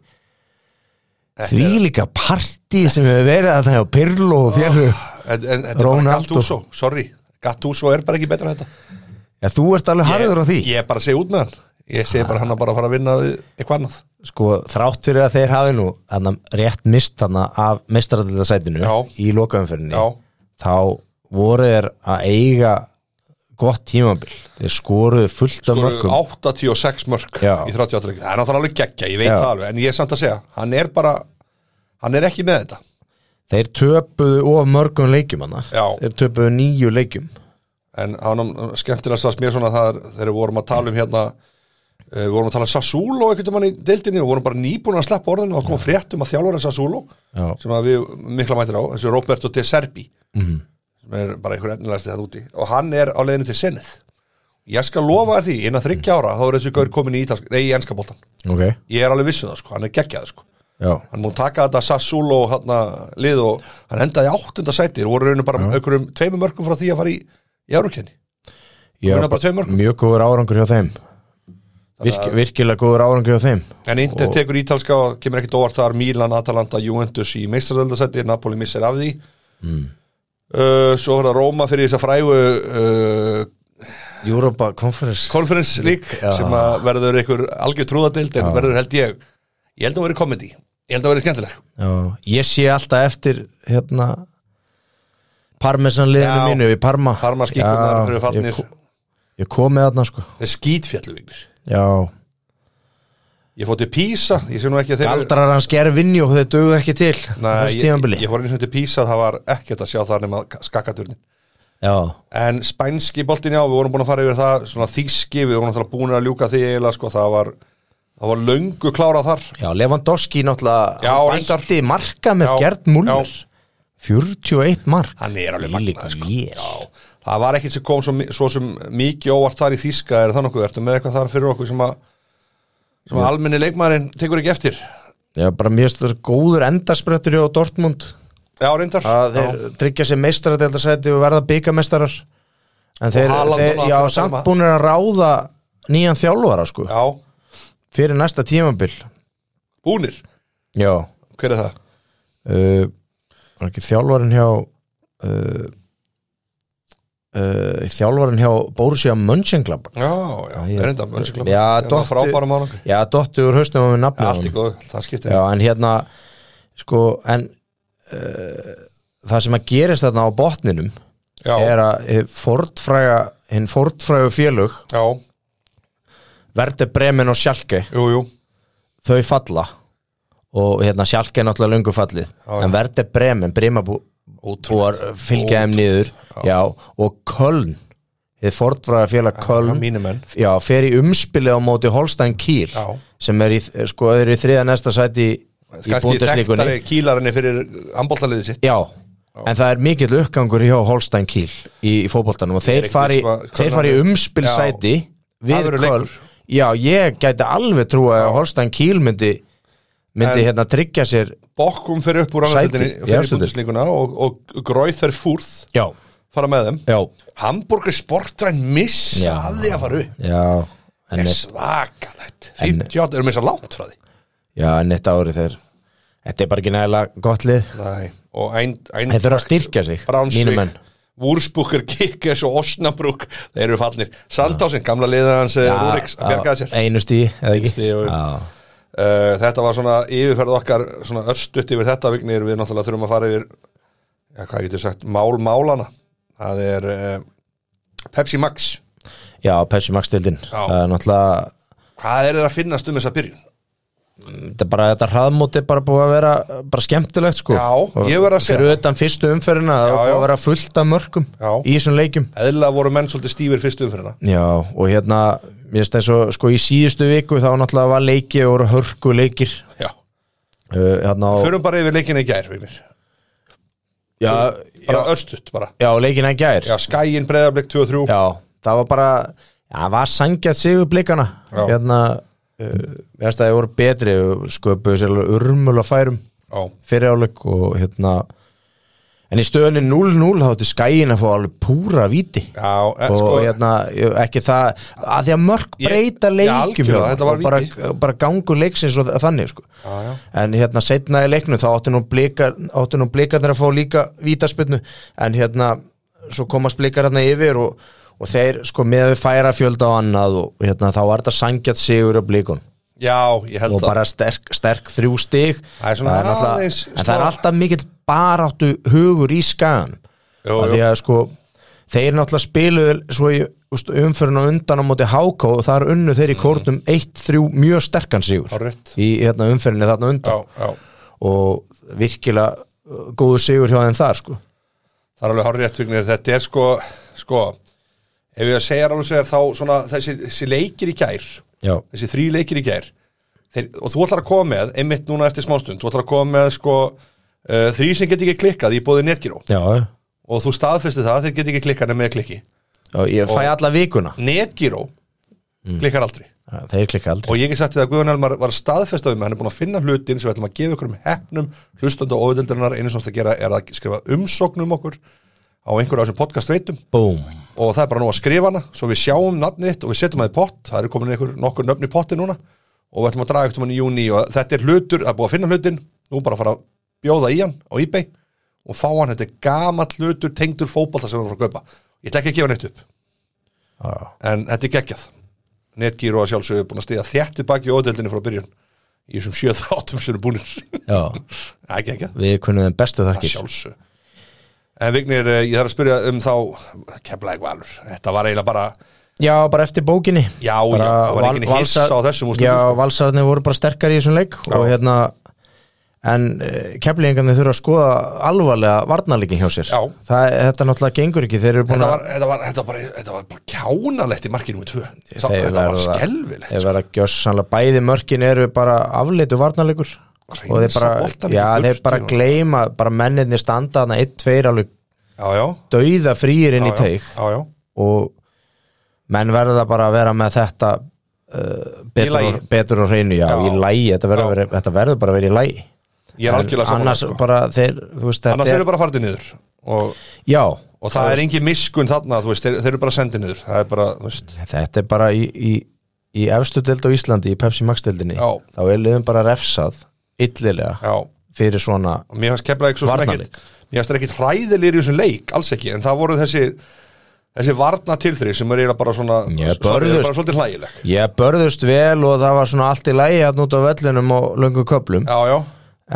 Speaker 1: Þetta
Speaker 2: því líka partí sem hefur verið að það hjá Pirlo og fjölu
Speaker 1: En, en þetta er bara
Speaker 2: Ronaldo.
Speaker 1: Gattuso, sorry Gattuso er bara ekki betra en þetta
Speaker 2: ja, þú ert alveg harður á því
Speaker 1: Ég er bara að segja út með hann Ég segi bara hann að bara fara að vinna við eitthvað annað
Speaker 2: sko þrátt fyrir að þeir hafi nú þarna rétt mist hana af mestaradildasætinu
Speaker 1: Já.
Speaker 2: í lokaumferðinni
Speaker 1: Já,
Speaker 2: þá voru þeir að eiga gott tímabil þeir skoruðu fullt af
Speaker 1: Skoru
Speaker 2: mörgum
Speaker 1: 86 mörg
Speaker 2: Já.
Speaker 1: í 38 leik Það er náttúrulega alveg geggja, ég veit
Speaker 2: Já.
Speaker 1: það alveg En ég er samt að segja, hann er bara Hann er ekki með þetta
Speaker 2: Þeir töpuðu of mörgum leikjum hana
Speaker 1: Já.
Speaker 2: Þeir töpuðu nýju leikjum
Speaker 1: En hann skemmtilegast varst mér svona þar Þegar við vorum að tala um hérna eh, Við vorum að tala um Sassulo einhvern mann í deildinni Við vorum bara nýbúin að sleppa orðinu og kom frétt um að þjálfara Sassulo
Speaker 2: Já, Mhm.
Speaker 1: sem að við mikla mætir á þessu Roberto De Serbi sem er bara einhver efnilegasti það úti og hann er á leiðinu til sinnið ég skal lofa þér því, innan þryggja ára þá er þessi gaur komin í, ítalsk, nei, í enska boltan
Speaker 2: ok
Speaker 1: ég er alveg vissuð það sko, hann er geggjað sko
Speaker 2: Já,
Speaker 1: hann múið taka þetta Sassulo hana, lið og hann endaði í áttunda sæti og voru rauninu bara einhverjum tveimur mörgum frá því að fara í, í Eurókenni
Speaker 2: Ég
Speaker 1: Munar
Speaker 2: var
Speaker 1: bara tveim mörkum.
Speaker 2: mjög góður árangur hjá þeim Virk, Virkilega góður árangur hjá þeim
Speaker 1: En Inter
Speaker 2: Og-
Speaker 1: tekur ítalska og kemur ekkit óvart þar Milan, Atalanta, Juventus í meistardöldasætti Napoli missir af því
Speaker 2: Hmm.
Speaker 1: uh, Svo var það Róma fyrir þess að frægu uh,
Speaker 2: Europa Conference
Speaker 1: Conference League
Speaker 2: Já.
Speaker 1: sem að verður einhver algjör trúðadeild en verður held ég ég held að verður komedi, ég held að verður skemmtileg
Speaker 2: Já, ég sé alltaf eftir hérna Parmesan liðinu
Speaker 1: Já.
Speaker 2: mínu í Parma
Speaker 1: Parma
Speaker 2: Já,
Speaker 1: skíkunar eru
Speaker 2: ég,
Speaker 1: fallnir
Speaker 2: ko- ég kom með þarna sko
Speaker 1: þeir skítfjalluvignir
Speaker 2: Já,
Speaker 1: ég fór til Pisa, ég sé nú ekki að þeir eru-
Speaker 2: galdrar hans gerði vinnjó þeir dögu ekki til
Speaker 1: Nei,
Speaker 2: Þessi
Speaker 1: ég,
Speaker 2: tímabili
Speaker 1: ég fór eins og til Pisa það var ekkert að sjá þar nema skakkaturni
Speaker 2: Já,
Speaker 1: En spænski boltin já, við vorum búin að fara yfir það svona þýski, við vorum náttúrulega búin að ljúka því eiginlega, sko, það var það var löngu klárað þar
Speaker 2: Já, Lewandowski náttúrulega
Speaker 1: Já,
Speaker 2: hann
Speaker 1: reyndar.
Speaker 2: bætti marka með
Speaker 1: Já,
Speaker 2: Gerd Muller 41 mark
Speaker 1: Hann er alveg
Speaker 2: Þvílík
Speaker 1: magnað, sko.
Speaker 2: vél.
Speaker 1: Já, það var ekkert sem kom svo, mi- svo sem mikið óvart þar í þýska, er það nokkuð ertu með eitthvað þar fyrir okkur sem að sem að almenni leikmaðurinn tekur ekki eftir
Speaker 2: Já, bara mjög stöður góður endarsprettur hjá Dortmund
Speaker 1: Já, reyndar
Speaker 2: að þeir tryggja sér meistaradeldarsæti og verða byggamestarar en þeir,
Speaker 1: Haaland
Speaker 2: þeir
Speaker 1: og
Speaker 2: já,
Speaker 1: allir að
Speaker 2: samt
Speaker 1: dæma.
Speaker 2: búinir að ráða nýjan þjálfara sko
Speaker 1: Já,
Speaker 2: fyrir næsta tímabil
Speaker 1: búnir,
Speaker 2: Já,
Speaker 1: hver er það?
Speaker 2: uh, var ekki þjálfarin hjá uh, uh, þjálfarin hjá Borussia Mönchenglabar
Speaker 1: Já, já,
Speaker 2: ég-
Speaker 1: reynda, mönnsklum
Speaker 2: Já, dottu-
Speaker 1: frábæra mánum
Speaker 2: Já, dotti úr haustum með nafnum
Speaker 1: Allt í góð, það skiptir
Speaker 2: Já, en hérna sko, en uh, það sem að gerist þarna á botninum
Speaker 1: já,
Speaker 2: er að hið fordfræga, hinn fordfrægu félög
Speaker 1: já,
Speaker 2: Verði Bremen og Sjalke
Speaker 1: jú, jú
Speaker 2: þau falla og hérna Sjalke er náttúrulega löngu fallið
Speaker 1: já.
Speaker 2: en Verði Bremen, Brimabú búar fylgja þeim niður já. og Köln hið fordfræga félag Köln
Speaker 1: Mínu menn
Speaker 2: já, fer í umspilið á móti Holstein Kiel
Speaker 1: Já.
Speaker 2: sem er í, sko, er í þriða næsta sæti í, í
Speaker 1: kannski
Speaker 2: búndaslíkunni
Speaker 1: þekktari kýlarinni fyrir handbóltaliðið sitt
Speaker 2: Já, en það er mikill uppgangur hjá Holstein Kiel í, í fótboltanum og þeir
Speaker 1: ekkert
Speaker 2: fari,
Speaker 1: viss um að-
Speaker 2: þeir fari umspilsæti
Speaker 1: Það
Speaker 2: við
Speaker 1: verður
Speaker 2: Köln
Speaker 1: leikur.
Speaker 2: Já, ég gæti alveg trúa að Holstein Kiel myndi, myndi
Speaker 1: En-
Speaker 2: hérna tryggja sér
Speaker 1: Bokkum fyrir upp úr
Speaker 2: Sæti,
Speaker 1: annaðildinni
Speaker 2: í
Speaker 1: fyrir
Speaker 2: efstu deild.
Speaker 1: búndislíkuna og, og gróið þær fúrð
Speaker 2: Já,
Speaker 1: fara með þeim
Speaker 2: já,
Speaker 1: Hamburger sportræn missa
Speaker 2: Já.
Speaker 1: að því að fara upp
Speaker 2: já en,
Speaker 1: er
Speaker 2: eitt,
Speaker 1: svakalegt
Speaker 2: En-
Speaker 1: 58 erum við svo langt frá því
Speaker 2: já, en eitt ári þeir Þetta er bara ekki nægilega gott lið
Speaker 1: Nei. og ein, ein,
Speaker 2: Þeir þurfa að styrkja sig, mínu menn
Speaker 1: Brownsvík Vúrsbúkur, Kikkes og Osnabrúk þeir eru fallnir, Sandhásin, gamla liðan hans eh, Rúriks,
Speaker 2: Já,
Speaker 1: bjargaði sér
Speaker 2: Einu stíði, eða ekki
Speaker 1: stíði og-
Speaker 2: Já,
Speaker 1: Uh, þetta var svona yfirferð okkar svona örstutt yfir þetta vignir við náttúrulega þurfum að fara yfir já, hvað getur sagt, mál málana það er uh, Pepsi Max
Speaker 2: Já, Pessi Max-deildin
Speaker 1: Já.
Speaker 2: Það er náttúrulega
Speaker 1: hvað er það að finnast um þessa byrjun?
Speaker 2: þetta er bara þetta hraðmóti er bara búið að vera uh, bara skemmtilegt sko
Speaker 1: Já, ég verð að segja
Speaker 2: fyrir utan fyrstu umferðina það
Speaker 1: Já,
Speaker 2: var búið
Speaker 1: já.
Speaker 2: að vera fullt af mörgum
Speaker 1: Já.
Speaker 2: í þessum leikjum
Speaker 1: eðla voru menn svolítið stífir fyrstu umferðina
Speaker 2: já og hérna mér finnst eins og sko í síðustu viku þá náttúrulega var leiki og voru hörku leikir
Speaker 1: já,
Speaker 2: uh, hérna á
Speaker 1: förum bara yfir leikina í gær vignir.
Speaker 2: já, já,
Speaker 1: bara örstutt bara
Speaker 2: já leikin að gær
Speaker 1: já, skæin breyðarblik 2 og 3
Speaker 2: Já, það var bara já, það var sangjað sigur blikana
Speaker 1: Já.
Speaker 2: hérna uh, mér finnst að það voru betri og sköpuðu sér alveg urmul að færum
Speaker 1: já,
Speaker 2: fyrir áleik og hérna en í stöðunni 0-0 þá ætti skæin að fá alveg púra víti
Speaker 1: já eh,
Speaker 2: og
Speaker 1: sko,
Speaker 2: hérna ég- ekki það að því að mörg
Speaker 1: Ég-
Speaker 2: breyta
Speaker 1: Já,
Speaker 2: leikum
Speaker 1: algjörlega,
Speaker 2: hérna,
Speaker 1: þetta var
Speaker 2: og bara,
Speaker 1: víti.
Speaker 2: bara gangu leiksins og þa- þannig sko.
Speaker 1: já, já.
Speaker 2: en hérna setna í leiknu þá áttu nú blikar áttu nú blikar að fá líka vítaspinnu en hérna svo komast blikar hérna yfir og, og þeir sko með að færa fjölda á annað og hérna þá var þetta sangjart sigur á blikun
Speaker 1: já, ég held
Speaker 2: og
Speaker 1: það
Speaker 2: bara sterk, sterk þrjú stig
Speaker 1: Það er svona
Speaker 2: náttúrulega-
Speaker 1: aðeins
Speaker 2: en það er
Speaker 1: smá-
Speaker 2: alltaf mikill baráttu hugur í skagan
Speaker 1: Jú,
Speaker 2: af því
Speaker 1: jú.
Speaker 2: að sko þeir náttúrulega spiluðu svo í úst, umfyrin og undan á móti háká og þar unnu
Speaker 1: Mm.
Speaker 2: þeir í kórnum 1-3 mjög sterkan sigur
Speaker 1: Hárrétt.
Speaker 2: í hérna, umfyrinni þarna
Speaker 1: já,
Speaker 2: undan
Speaker 1: já
Speaker 2: og virkilega uh, góðu sigur hjá þeim þar sko
Speaker 1: Það er alveg hárið réttvignir, þetta er sko, sko, ef ég að segja alveg sér þá svona þessi, þessi leikir í gær,
Speaker 2: já,
Speaker 1: þessi þrý leikir í gær, þeir, og þú ætlar að koma með, einmitt núna eftir smástund, þú ætlar að koma með sko uh, þrý sem get ekki klikkað í bóði netgíró
Speaker 2: já, já
Speaker 1: og þú staðfesti það, þeir get ekki klikkað nema með klikki.
Speaker 2: ég fæ alla vikuna
Speaker 1: Netgíró klikkar aldrei
Speaker 2: Já, þeir klikka aldrei
Speaker 1: og ég hef sagt þér að Guðan Elmar var staðfestað um að hann er búin að finna hlutin sem við ætlum að gefa ykkur um hefnum hlustandi og óvildarinnar einu sem þú átt að gera er að skrifa umsóknum okkur á einhverju af þessum podcast veitum
Speaker 2: Búm.
Speaker 1: og það er bara nú að skrifa hana svo við sjáum nafnið þitt og við setjum það í pott það eru komin einhver nokkur nöfn í potti núna og við ætlum að draga eitthvað í júni og þetta er hlutur, það er búið að finna hlutin nú bara að fara að bjóða í hann á ebay og fá hann, þetta er gamall hlutur tengdur fótbalta sem við erum að kaupa ég ætla ekki að gefa neitt upp,
Speaker 2: Já.
Speaker 1: en þetta er geggjað Netgíru að sjálfsögðu búin að stiga þjætti baki ódeldinni frá byrjun í þessum sjö þáttum sem eru búinir
Speaker 2: já,
Speaker 1: það er geggjað
Speaker 2: við kunnum þeim bestu
Speaker 1: að
Speaker 2: þakkir
Speaker 1: sjálfsög En Vignir, eh, ég þarf að spyrja um þá Keflaði Valur, þetta var eiginlega bara
Speaker 2: já, bara eftir bókinni
Speaker 1: Já,
Speaker 2: Bara
Speaker 1: já, það var
Speaker 2: val-
Speaker 1: ekki hiss
Speaker 2: valsar-
Speaker 1: á þessum úrslitum,
Speaker 2: Já,
Speaker 1: sko.
Speaker 2: valsararnir voru bara sterkar í þessum leik og hérna en keflingarnir þurfa að skoða alvarlega varnarleikin hjá sér
Speaker 1: Já.
Speaker 2: Það, þetta náttúrulega gengur ekki, þeir eru búin
Speaker 1: þetta,
Speaker 2: að
Speaker 1: var, þetta, var, þetta, var bara, þetta var bara kjánalegt í markinu með tvö Sá,
Speaker 2: þeir
Speaker 1: Þetta var sko.
Speaker 2: verða-
Speaker 1: skelvilegt
Speaker 2: þeir verða gjössanlega, bæði mörkin eru bara afleitu varnarleikur
Speaker 1: Hreinsa
Speaker 2: og þeir bara,
Speaker 1: boltann
Speaker 2: já,
Speaker 1: í
Speaker 2: þeir
Speaker 1: burtu sko.
Speaker 2: bara
Speaker 1: og-
Speaker 2: gleyma bara mennirni standa þarna 1-2 alveg
Speaker 1: Já, já,
Speaker 2: dauða frýir
Speaker 1: já,
Speaker 2: inn í teik
Speaker 1: já, já,
Speaker 2: og menn verða bara að vera með þetta uh, betur,
Speaker 1: lagi.
Speaker 2: og, betur og hreinu, já,
Speaker 1: Já.
Speaker 2: í lægi þetta verður, verið, þetta verður bara að vera í lægi
Speaker 1: Ég er algjörlega saman
Speaker 2: annars
Speaker 1: Annars, sko.
Speaker 2: bara þeir, þú veist,
Speaker 1: annars
Speaker 2: þetta
Speaker 1: þeir eru bara farið niður og,
Speaker 2: já,
Speaker 1: og það er engin miskun þarna, þú veist, þeir, þeir eru bara sendið niður Það er bara, þú veist,
Speaker 2: þetta er bara í, í, í efstu deild á Íslandi, í Pepsi Max deildinni
Speaker 1: Já.
Speaker 2: þá er liðum bara refsað illilega
Speaker 1: já Og
Speaker 2: fyrir svona
Speaker 1: mér fannst Keflavík svo sem
Speaker 2: Varnarleik.
Speaker 1: ekkit Mér fannst þeir ekkit hræðilegir í þessum leik, alls ekki En það voru þessi, þessi varna til þeir sem eru eiginlega bara svona
Speaker 2: Ég
Speaker 1: svo- svo- eru
Speaker 2: börðust.
Speaker 1: bara svolítið hlægileg
Speaker 2: ég börðust vel og það var svona allt í lægi hann út á völlinum og löngu köplum
Speaker 1: Já, já,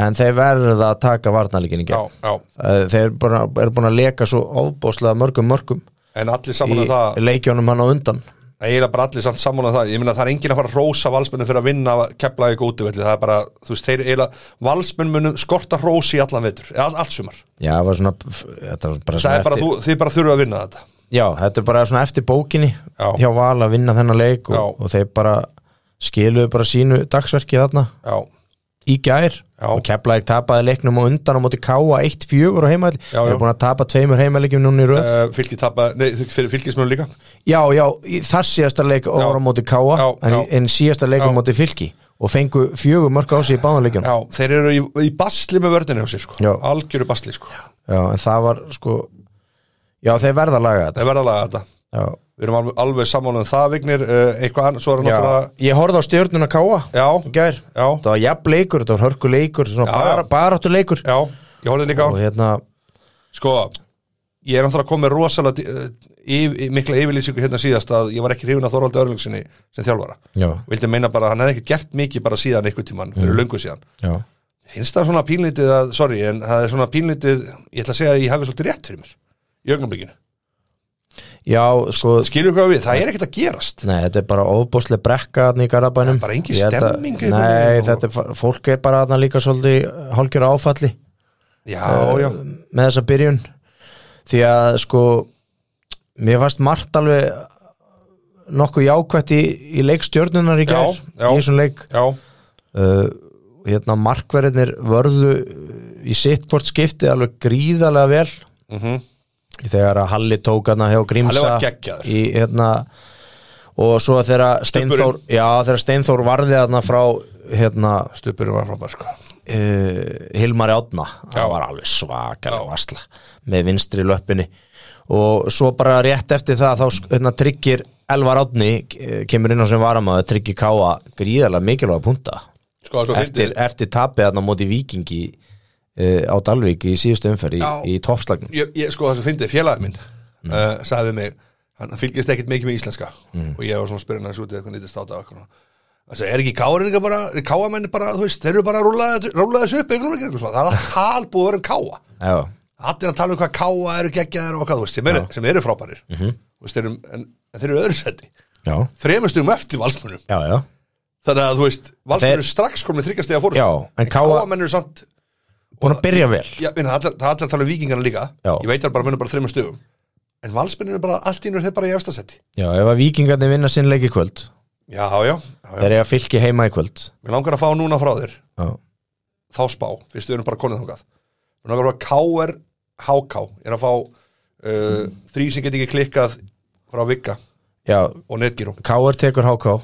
Speaker 2: en þeir verða að taka varnarleikin í
Speaker 1: já,
Speaker 2: gegn
Speaker 1: já
Speaker 2: Eh, þeir eru bara- eru búin að leka svo ofbóðslega mörgum mörgum
Speaker 1: En allir
Speaker 2: í
Speaker 1: saman að það
Speaker 2: leikjónum hann á undan
Speaker 1: Það er eiginlega bara allir samt sammála um það Ég meina það er enginn að fara að rósa valsmennu fyrir að vinna Keflavík útivelli, það er bara Þú veist, þeir eiginlega, valsmenn munum skorta rósi í allan vetur, eða allt sumar
Speaker 2: já, það var svona, þetta var bara
Speaker 1: Það
Speaker 2: svona
Speaker 1: er bara,
Speaker 2: eftir,
Speaker 1: þú, þið bara þurfa að vinna þetta
Speaker 2: já, þetta er bara svona eftir bókinni
Speaker 1: Já.
Speaker 2: hjá Val að vinna þennan leik og,
Speaker 1: Já.
Speaker 2: og þeir bara skiluðu bara sínu dagsverki þarna
Speaker 1: Já,
Speaker 2: í gær
Speaker 1: Já.
Speaker 2: og Keflavík tapaði leiknum og undan á móti Káa 1-4 á heimaðli
Speaker 1: Já,
Speaker 2: þeir
Speaker 1: já.
Speaker 2: eru búin að tapa tveimur heimaðleikjum núna í röð
Speaker 1: uh, fylgir tapa, nei, þau- fyrir fylgismönu líka
Speaker 2: Já, já, í- þar síðasta leik já, var á móti Káa
Speaker 1: Já,
Speaker 2: en,
Speaker 1: já.
Speaker 2: en síðasta
Speaker 1: Já.
Speaker 2: leik á móti Fylki og fengu fjögur mörg á sig í báðanleikjum já.
Speaker 1: Já, þeir eru í, í basli með vördinu hjá sér sko
Speaker 2: Já.
Speaker 1: Algjöru basli sko
Speaker 2: en það var sko Já, þeir verða að laga þetta
Speaker 1: Það er verðalega þetta
Speaker 2: Já,
Speaker 1: Við erum alveg, alveg sammála um það vignir uh, Eitthvað annað, svo er
Speaker 2: já.
Speaker 1: náttúrulega
Speaker 2: ég horfði á stjörnuna Káa
Speaker 1: Já,
Speaker 2: í gær,
Speaker 1: já,
Speaker 2: það var jafn leikur þetta var hörku leikur, svona
Speaker 1: Já,
Speaker 2: bara,
Speaker 1: já.
Speaker 2: baráttu leikur
Speaker 1: já, ég horfði líka á
Speaker 2: og hérna,
Speaker 1: Sko, ég er náttúrulega komið rosalega dý- eh, yf, mikla yfirlýsingu hérna síðast að ég var ekki hrifin að Þorvaldi Örlingsinni sem þjálfara
Speaker 2: já,
Speaker 1: vildi meina bara að hann hefði ekkert gert mikið bara síðan einhvern tímann, fyrir löngu síðan
Speaker 2: já,
Speaker 1: finnst það svona pínlítið að, sorry, en það er svona pínlítið ég ætla að segja að ég hafi svolítið rétt fyrir mér í augnablikinu,
Speaker 2: já, sko
Speaker 1: skilur hvað við, það er ekkert að gerast
Speaker 2: Nei, þetta er bara ofbúslega brekka þarna í Garabænum
Speaker 1: Það er bara engin
Speaker 2: Ég held að-
Speaker 1: stemming einhvern
Speaker 2: Nei,
Speaker 1: veginn og-
Speaker 2: þetta er, fa- fólk er bara þarna líka svolítið hálgjör áfalli
Speaker 1: já,
Speaker 2: Eh,
Speaker 1: já,
Speaker 2: með þessa byrjun því að sko mér fannst margt alveg nokkuð jákvætt í, í leikstjörnunar í
Speaker 1: Já,
Speaker 2: gær
Speaker 1: já.
Speaker 2: í þessum leik
Speaker 1: já,
Speaker 2: uh, hérna markverðinir vörðu í sitt hvort skipti alveg gríðarlega vel
Speaker 1: mhm
Speaker 2: þegar að Halli tók hana hjá
Speaker 1: Halli
Speaker 2: Grímsa
Speaker 1: var geggjaður.
Speaker 2: í hérna og svo þegar Steinþór já þegar Steinþór varði hana frá hérna
Speaker 1: stupurinn var frábær sko
Speaker 2: uh, Hilmar Átna
Speaker 1: Já.
Speaker 2: það var alveg svakalega vasla með vinstri löppinni og svo bara rétt eftir það þá sk- hérna, tryggir Elvar Átni eh, kemur inn á sem varamaður tryggir Káa gríðarlega mikilvæga punta
Speaker 1: sko, það er svo
Speaker 2: eftir,
Speaker 1: fyndið.
Speaker 2: eftir tapið þarna á móti vikingi uh, á Dalvík í síðustu umferð í,
Speaker 1: Já.
Speaker 2: í toppslagnum
Speaker 1: ég, ég, sko, það sem fyndið félagið minn
Speaker 2: Mm.
Speaker 1: uh, sagði við mig, hann fylgist ekkert mikið með íslenska og ég var svona spyrin hans út í eitthvað nýttist átta það er ekki káringar bara, káamenni bara þú veist, þeir eru bara að rúla þetta- rúla þessu upp einhvern veginn, eitthvað svona. það er alltaf talbúið að vera um káa
Speaker 2: Já,
Speaker 1: allir að tala um hvað káa eru geggjaðar og hvað, þú veist, sem eru, sem eru frábærir
Speaker 2: Mhm.
Speaker 1: þú veist, þeir eru, en, en þeir eru öðru seti
Speaker 2: já,
Speaker 1: þremustugum eftir valsmönum
Speaker 2: já, já
Speaker 1: þannig að þú veist, valsmönum
Speaker 2: Þeir-
Speaker 1: eru strax komin þryggastegja fórust,
Speaker 2: Já, en Káa-
Speaker 1: menn eru samt
Speaker 2: búin að byrja vel
Speaker 1: Já, minna, það er allir- það er allir að tala um vikingarna líka
Speaker 2: Já.
Speaker 1: Ég veit að bara munum bara þreymur stöfum En valsmennir er bara allt í nýr þeir bara í efstasetti
Speaker 2: Já, ef að vikingarnir vinna sinn leik í kvöld
Speaker 1: Já, já, já, já.
Speaker 2: þeir eru að fylki heima í kvöld
Speaker 1: Mér langar að fá núna frá þér
Speaker 2: Já,
Speaker 1: Þá spá, fyrst við erum bara konið þangað Mér langar að fá KR HK Ég er að fá uh, þrý sem get ekki klikkað frá Vika
Speaker 2: já
Speaker 1: og Netgyrú
Speaker 2: Káar tekur HK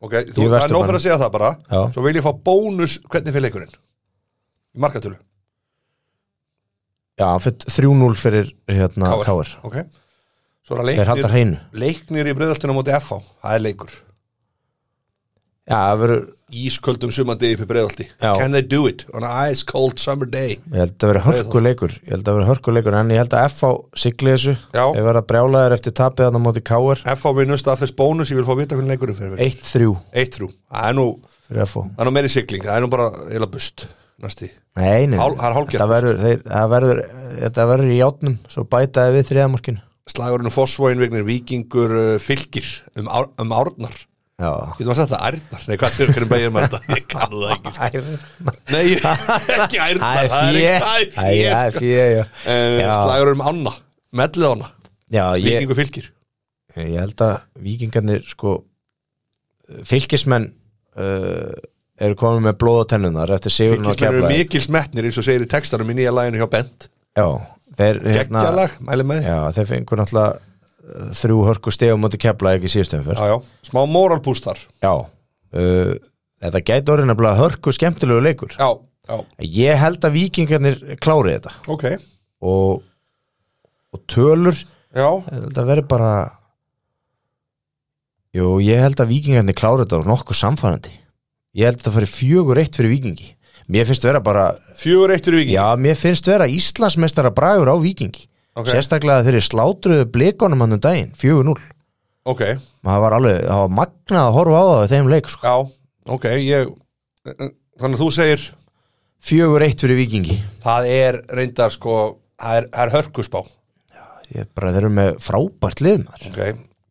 Speaker 1: Ok, þú það er
Speaker 2: Í
Speaker 1: nóg
Speaker 2: Vesturbænum.
Speaker 1: fyrir að segja það bara
Speaker 2: Já.
Speaker 1: Svo vil ég fá bónus hvernig fyrir leikurinn Í markatölu,
Speaker 2: Já, hann fyrir 3-0 fyrir hérna
Speaker 1: KR.
Speaker 2: Káar
Speaker 1: ok Svo er
Speaker 2: Þeir
Speaker 1: það leiknir,
Speaker 2: haldar hreinu
Speaker 1: leiknir í breyðaltinu á móti FH Það er leikur
Speaker 2: Já, það verður,
Speaker 1: ísköldum sumandi upp í breiðalti
Speaker 2: Já.
Speaker 1: Can they do it on an ice cold summer day
Speaker 2: ég held að verður hörkuleikur Ég held að verður hörkuleikur En ég held að FH sigli þessu
Speaker 1: Já.
Speaker 2: Þeir verða brjálaðir eftir tapið hann á móti Káar
Speaker 1: FH minnust að þess bónus ég vil fá að vita hvernig leikurinn fyrir
Speaker 2: 1-3
Speaker 1: eitt þrjú, það er nú
Speaker 2: fyrir FH
Speaker 1: það er nú meiri sigling, það er nú bara eila bust næsti,
Speaker 2: Nei, nei, nei.
Speaker 1: Hál- það er hálfgert.
Speaker 2: Þetta verður, þeir, það verður, þetta verður í játnum Svo bætaði við þriðamarkinu
Speaker 1: slagurinn um og fósvóin vegnir vikingur uh, fylgir um, ár, um árnar
Speaker 2: Já
Speaker 1: getur maður að segja það, ærnar, nei hvað séu hvernig beigir maður þetta ég kannu það ekki, sko. nei ekki
Speaker 2: Það
Speaker 1: ærnar,
Speaker 2: er
Speaker 1: það er
Speaker 2: fjö
Speaker 1: ekki
Speaker 2: Það er
Speaker 1: það er fjö, sko.
Speaker 2: fjö, já
Speaker 1: Eh,
Speaker 2: Já.
Speaker 1: slagurinn um ána, mellið ána
Speaker 2: Já, ég,
Speaker 1: vikingur fylgir,
Speaker 2: ég held að vikingarnir sko fylgismenn uh, eru komin með blóð á tennunar eftir sigurinn á
Speaker 1: fylgismenn eru
Speaker 2: keflaði
Speaker 1: mikil smetnir eins og segir í textanum í nýja læginu hjá Bent
Speaker 2: já, þeir, hérna,
Speaker 1: geggjalag, mæli með því
Speaker 2: já, þeir fengur náttúrulega eh, þrjú hörku stegum múti keflaði ekki síðustum fyrr
Speaker 1: já, já. smá moralbúst þar
Speaker 2: já uh, þetta gæti orðin að hörku skemmtilegu leikur
Speaker 1: já, já,
Speaker 2: ég held að vikingarnir klári þetta
Speaker 1: ok
Speaker 2: og, og tölur ég
Speaker 1: já,
Speaker 2: held að veri bara jú, ég held að vikingarnir klári þetta og nokkuð samfærandi ég held að þetta fari fjögur eitt fyrir vikingi mér finnst vera bara
Speaker 1: fjögur eittur í viking
Speaker 2: Já, mér finnst vera Íslandsmeistara bragur á vikingi
Speaker 1: ok,
Speaker 2: Sérstaklega þegar þeir slátruðu blikonum hann um daginn 4-0
Speaker 1: ok,
Speaker 2: Það var alveg, það var magnað að horfa á það í þeim leik sko.
Speaker 1: já, ok ég, eh, þannig að þú segir
Speaker 2: 4-1 fyrir vikingi
Speaker 1: það er reyndar sko það er, það er hörkuspá
Speaker 2: Ég bara þeir eru með frábært lið maður
Speaker 1: ok,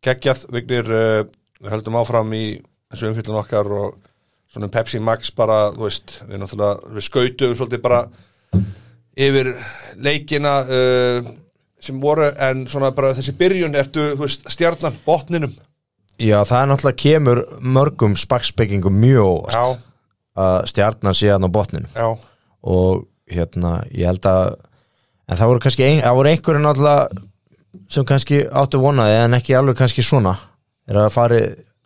Speaker 1: geggjað, Vignir uh, við höldum áfram í þessu umfyllun okkar og svona um Pepsi Max bara, þú veist, við náttúrulega við skautum svolítið bara yfir leikina uh, sem voru, en svona bara þessi byrjun, ertu, þú veist, stjarnan botninum,
Speaker 2: Já, það er náttúrulega kemur mörgum spakspekingum mjög óvart
Speaker 1: já,
Speaker 2: að stjarnan síðan á botninu
Speaker 1: já
Speaker 2: og hérna, ég held að en það voru kannski, ein, það voru einhverju náttúrulega sem kannski áttu vonaði en ekki alveg kannski svona er að fari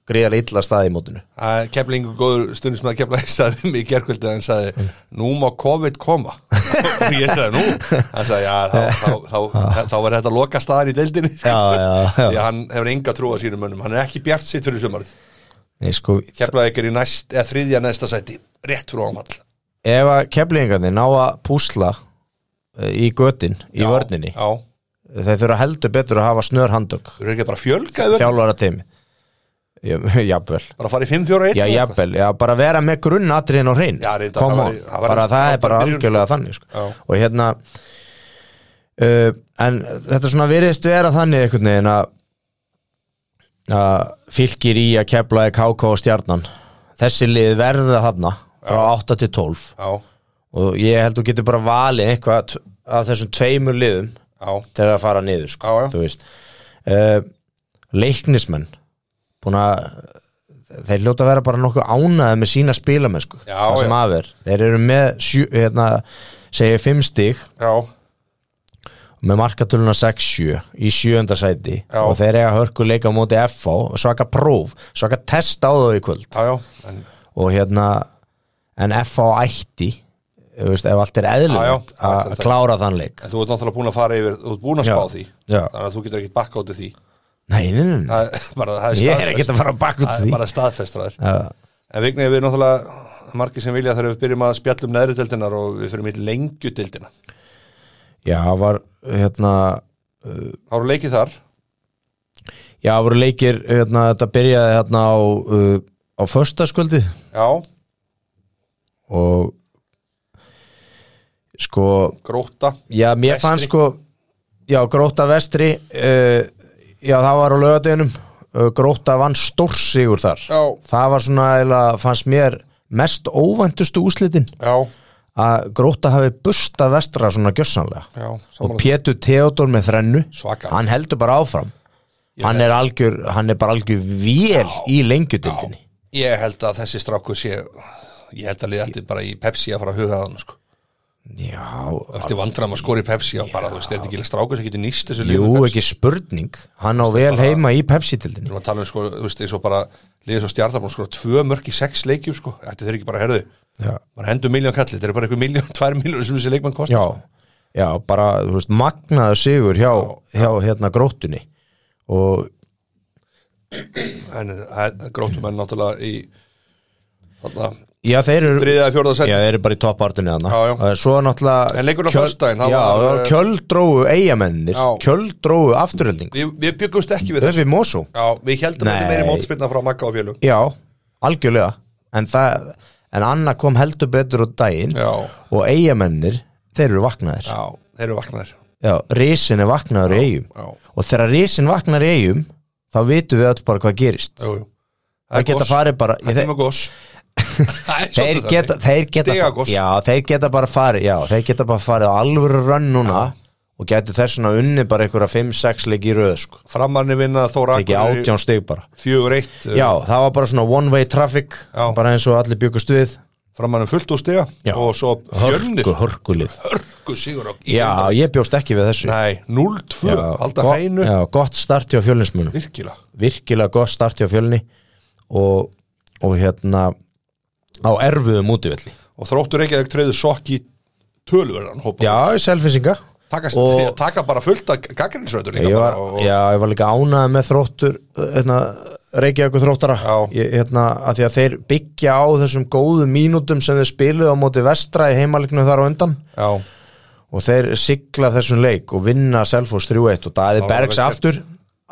Speaker 2: greiðar illa staði í mótinu
Speaker 1: að keflingu góður stundum sem að kefla í staðum í gerkvöldi hann sagði, nú má COVID koma og ég sagði, nú hann sagði, já, þá, þá, þá, þá, var þetta loka staðan í deildinni
Speaker 2: já, já,
Speaker 1: því
Speaker 2: já.
Speaker 1: að hann hefur enga trú á sínum mönnum hann er ekki bjart sitt fyrir sumarið
Speaker 2: Nei, sko,
Speaker 1: keflaði ekki í næst, eða þriðja næsta sæti rétt frá ámall
Speaker 2: ef að keflingarnir ná að púsla eh, í götin, í vörninni
Speaker 1: já,
Speaker 2: þeir þurfa heldur betur að hafa snör handtök
Speaker 1: Þú eru ekki bara að fjölga þau
Speaker 2: þjálfara teimi jafnvel
Speaker 1: Bara að fara í 5-4-1
Speaker 2: Já, jafnvel, já, bara vera með grunnatriðin og hrein
Speaker 1: Já, reyndar,
Speaker 2: Come
Speaker 1: það
Speaker 2: on.
Speaker 1: væri- það væri
Speaker 2: bara
Speaker 1: frábær
Speaker 2: það er bara
Speaker 1: byrjun.
Speaker 2: algjörlega þannig sko.
Speaker 1: Já.
Speaker 2: og hérna uh, en þetta svona virðist vera þannig einhvern veginn að að fylgir í að kepla í KK og stjarnan þessi lið verða þarna frá 8 til 12
Speaker 1: Já,
Speaker 2: og ég held þú getur bara valið eitthvað t- af þessum tveimur liðum
Speaker 1: já,
Speaker 2: til að fara niður sko,
Speaker 1: Já, já.
Speaker 2: þú veist uh, leiknismenn búin að þeir hljóta að vera bara nokkuð ánæði með sína spilamenn sko,
Speaker 1: Já,
Speaker 2: það sem
Speaker 1: já.
Speaker 2: af er þeir eru með sjö, hérna, segja fimm stig
Speaker 1: já
Speaker 2: með markatöluna 6-7 í sjöunda sæti
Speaker 1: Já.
Speaker 2: og þeir eiga hörku leika á móti FH svaka próf, svaka test á þau í kvöld
Speaker 1: Já, já, en,
Speaker 2: og hérna en FH ætti þú veist, ef allt er eðlilegt
Speaker 1: Já, já.
Speaker 2: að að klára þann leik
Speaker 1: en þú ert náttúrulega búin að fara yfir Þú ert búin að spá
Speaker 2: Já.
Speaker 1: því
Speaker 2: Já.
Speaker 1: Þannig að þú getur ekkit bakka út í því
Speaker 2: nei, nei, nei, nei.
Speaker 1: Það er bara, það er
Speaker 2: ég er
Speaker 1: staðfest.
Speaker 2: ekkert að fara að baka út
Speaker 1: Það
Speaker 2: því
Speaker 1: er bara staðfestraður
Speaker 2: Já.
Speaker 1: En vignið við náttúrulega margir sem vilja þegar við byrjum að spjalla um neðri deildinar og við fyrir mitt lengju deildina
Speaker 2: Já, það var hérna
Speaker 1: Það eru leikið þar
Speaker 2: Já, það voru leikir hérna, þetta byrjaði hérna á uh, á föstaskvöldi
Speaker 1: Já,
Speaker 2: og sko,
Speaker 1: gróta
Speaker 2: já, mér
Speaker 1: Vestri.
Speaker 2: fannst sko já, Gróta vestri uh, já, það var á lögadeginum uh, Gróta vann stórsigur þar
Speaker 1: Já,
Speaker 2: það var svona, eða, fannst mér mest óvæntustu úslitin
Speaker 1: já,
Speaker 2: að Gróta hafi busta vestra svona gjössanlega
Speaker 1: já
Speaker 2: og Pétur Theodor með þrennu
Speaker 1: Svaka
Speaker 2: hann heldur bara áfram hann er, algjör, hann er bara algjör vél í lengjudildinni
Speaker 1: Ég held að þessi stráku sé Ég held að liða eftir bara í Pepsi að fara að huga þann sko.
Speaker 2: já,
Speaker 1: Eftir vandram að skora í Pepsi og bara, þú veist, er þetta ekki stráku sem getur nýst þessu
Speaker 2: jú,
Speaker 1: liðum Pepsi?
Speaker 2: ekki spurning hann á vel heima í Pepsi-dildinni
Speaker 1: Við erum að tala um sko, þú veist, eins og bara liðið svo stjartar búin að skora tvö mörg í sex leikjum sko, ætti þeir ekki bara að herðu
Speaker 2: já.
Speaker 1: bara hendur miljón kalli, þeir eru bara einhver miljón, tvær miljónur sem þessi leikmann kostar
Speaker 2: Já, já, bara þú veist, magnaðu sigur hjá, hjá hérna gróttunni og
Speaker 1: en eh, gróttum enn náttúrulega í þarna,
Speaker 2: já, þeir eru
Speaker 1: þriðið að fjóraða
Speaker 2: Já,
Speaker 1: seti
Speaker 2: þeir eru bara í toppartunni
Speaker 1: Já, já.
Speaker 2: þarna Eh, Svo náttúrulega
Speaker 1: En leikurinn á
Speaker 2: Kjöl-
Speaker 1: föstudaginn, það
Speaker 2: Já,
Speaker 1: var, eh,
Speaker 2: kjöldróu eigamennir
Speaker 1: Já.
Speaker 2: Kjöldróu afturhilding
Speaker 1: við, við byggumst ekki við
Speaker 2: Þau
Speaker 1: þessu
Speaker 2: við Mosó
Speaker 1: Já, við heldum að þetta
Speaker 2: Nei.
Speaker 1: meiri mótspilna frá Magga og Fjölum
Speaker 2: Já, algjörlega En, það, en Anna kom heldur betur á daginn
Speaker 1: Já,
Speaker 2: og eigamennir, þeir eru vaknaðir
Speaker 1: já, þeir eru vaknaðir
Speaker 2: Já, risin er vaknaður í eigum
Speaker 1: Já,
Speaker 2: og þegar risin vaknar í eigum þá vitum við öll bara hvað gerist
Speaker 1: jú, jú
Speaker 2: það geta farið bara ég,
Speaker 1: Þeir
Speaker 2: þeir,
Speaker 1: með gos Það er
Speaker 2: þeir,
Speaker 1: svolítið
Speaker 2: geta,
Speaker 1: þannig.
Speaker 2: þeir, geta,
Speaker 1: Stigagos.
Speaker 2: já, þeir geta bara farið já, þeir geta bara farið á alvöru rönn núna og getur þessuna unni bara einhverja 5-6 leik í röð sko.
Speaker 1: Framarnir vinna Þóra
Speaker 2: ekki
Speaker 1: Akureyri
Speaker 2: átján stig bara
Speaker 1: 4-1
Speaker 2: já, það var bara svona one way traffic
Speaker 1: Já.
Speaker 2: bara eins og allir byggust við
Speaker 1: Framarnir fullt úr stiga
Speaker 2: Já.
Speaker 1: og svo fjölnir
Speaker 2: hörku, hörkulið
Speaker 1: hörgu sigur á í
Speaker 2: já,
Speaker 1: Grindavík.
Speaker 2: ég bjóst ekki við þessu
Speaker 1: Nei, 0-2, halda
Speaker 2: go-
Speaker 1: hreinu
Speaker 2: já, gott starti á fjölinsmunum
Speaker 1: Virkilega
Speaker 2: virkilega gott start hjá fjölni og, og hérna á erfuðum útivelli
Speaker 1: Og þróttur ekki að þau treyðu sokk í tölverðan hópa
Speaker 2: Já, selfisinga
Speaker 1: taka,
Speaker 2: Og-
Speaker 1: taka bara fullt af gaggrinsröður
Speaker 2: ég
Speaker 1: líka
Speaker 2: var,
Speaker 1: bara og,
Speaker 2: já, ég var líka ánað með þróttur hérna, Reykjavík þróttara
Speaker 1: Já.
Speaker 2: ég, hérna, að því að þeir byggja á þessum góðu mínútum sem þeir spiluðu á móti vestra í heimaleiknum þar á undan
Speaker 1: já,
Speaker 2: og þeir sigla þessum leik og vinna Selfos 3-1 og Daði
Speaker 1: var vel
Speaker 2: Bergs
Speaker 1: gert.
Speaker 2: aftur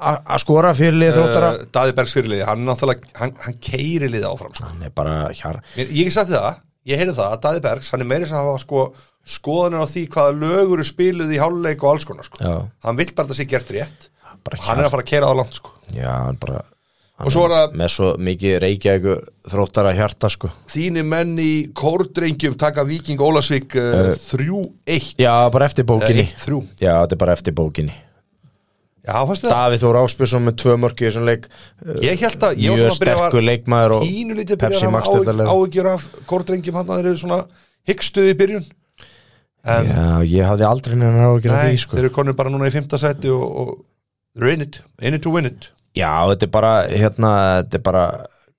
Speaker 2: a- að skora fyrir liði þróttara
Speaker 1: Eh, Daði Bergs fyrirliði, hann náttúrulega hann, hann keiri liði áfram sko.
Speaker 2: hann er bara hér
Speaker 1: Mér, Ég hef sagt þér það, ég heyrði það að Daði Bergs, hann er meiri sem hafa sko, skoðanir á því hvaða lögur eru spiluð í háluleik og alls konar sko.
Speaker 2: Já.
Speaker 1: Hann vill bara að það sé gert rétt
Speaker 2: bara
Speaker 1: og hann er að fara að keira á langt sko.
Speaker 2: Já, hann bara hann
Speaker 1: Og svo er það-
Speaker 2: með svo mikið reykjavík þróttara hjarta sko
Speaker 1: Þínir menn í kórdrengjum taka Viking Ólasvík uh, 3-1
Speaker 2: Já, bara eftir Eh, bókinni
Speaker 1: 1-3
Speaker 2: Já, þetta er bara eftir bókinni
Speaker 1: Eh, Já, fannst þið það?
Speaker 2: Davíð Þór Áspjörsson með tvö mörki í þessum leik Eh,
Speaker 1: Ég held að, ég var svona
Speaker 2: Mjög
Speaker 1: að byrja
Speaker 2: sterkur
Speaker 1: að
Speaker 2: leikmaður og
Speaker 1: pínu lítið
Speaker 2: Pepsi
Speaker 1: byrja að
Speaker 2: Max
Speaker 1: hafa
Speaker 2: deildarlega.
Speaker 1: áhyggjur af kórdrengjum hann að þeir eru svona hyggstuði í byrjun en
Speaker 2: Já, ég hafði aldrei neina á að gera
Speaker 1: nei,
Speaker 2: því sko
Speaker 1: þeir eru konur bara núna í fymta seti og, og they're in it, in it to win it
Speaker 2: Já, þetta er bara hérna, þetta er bara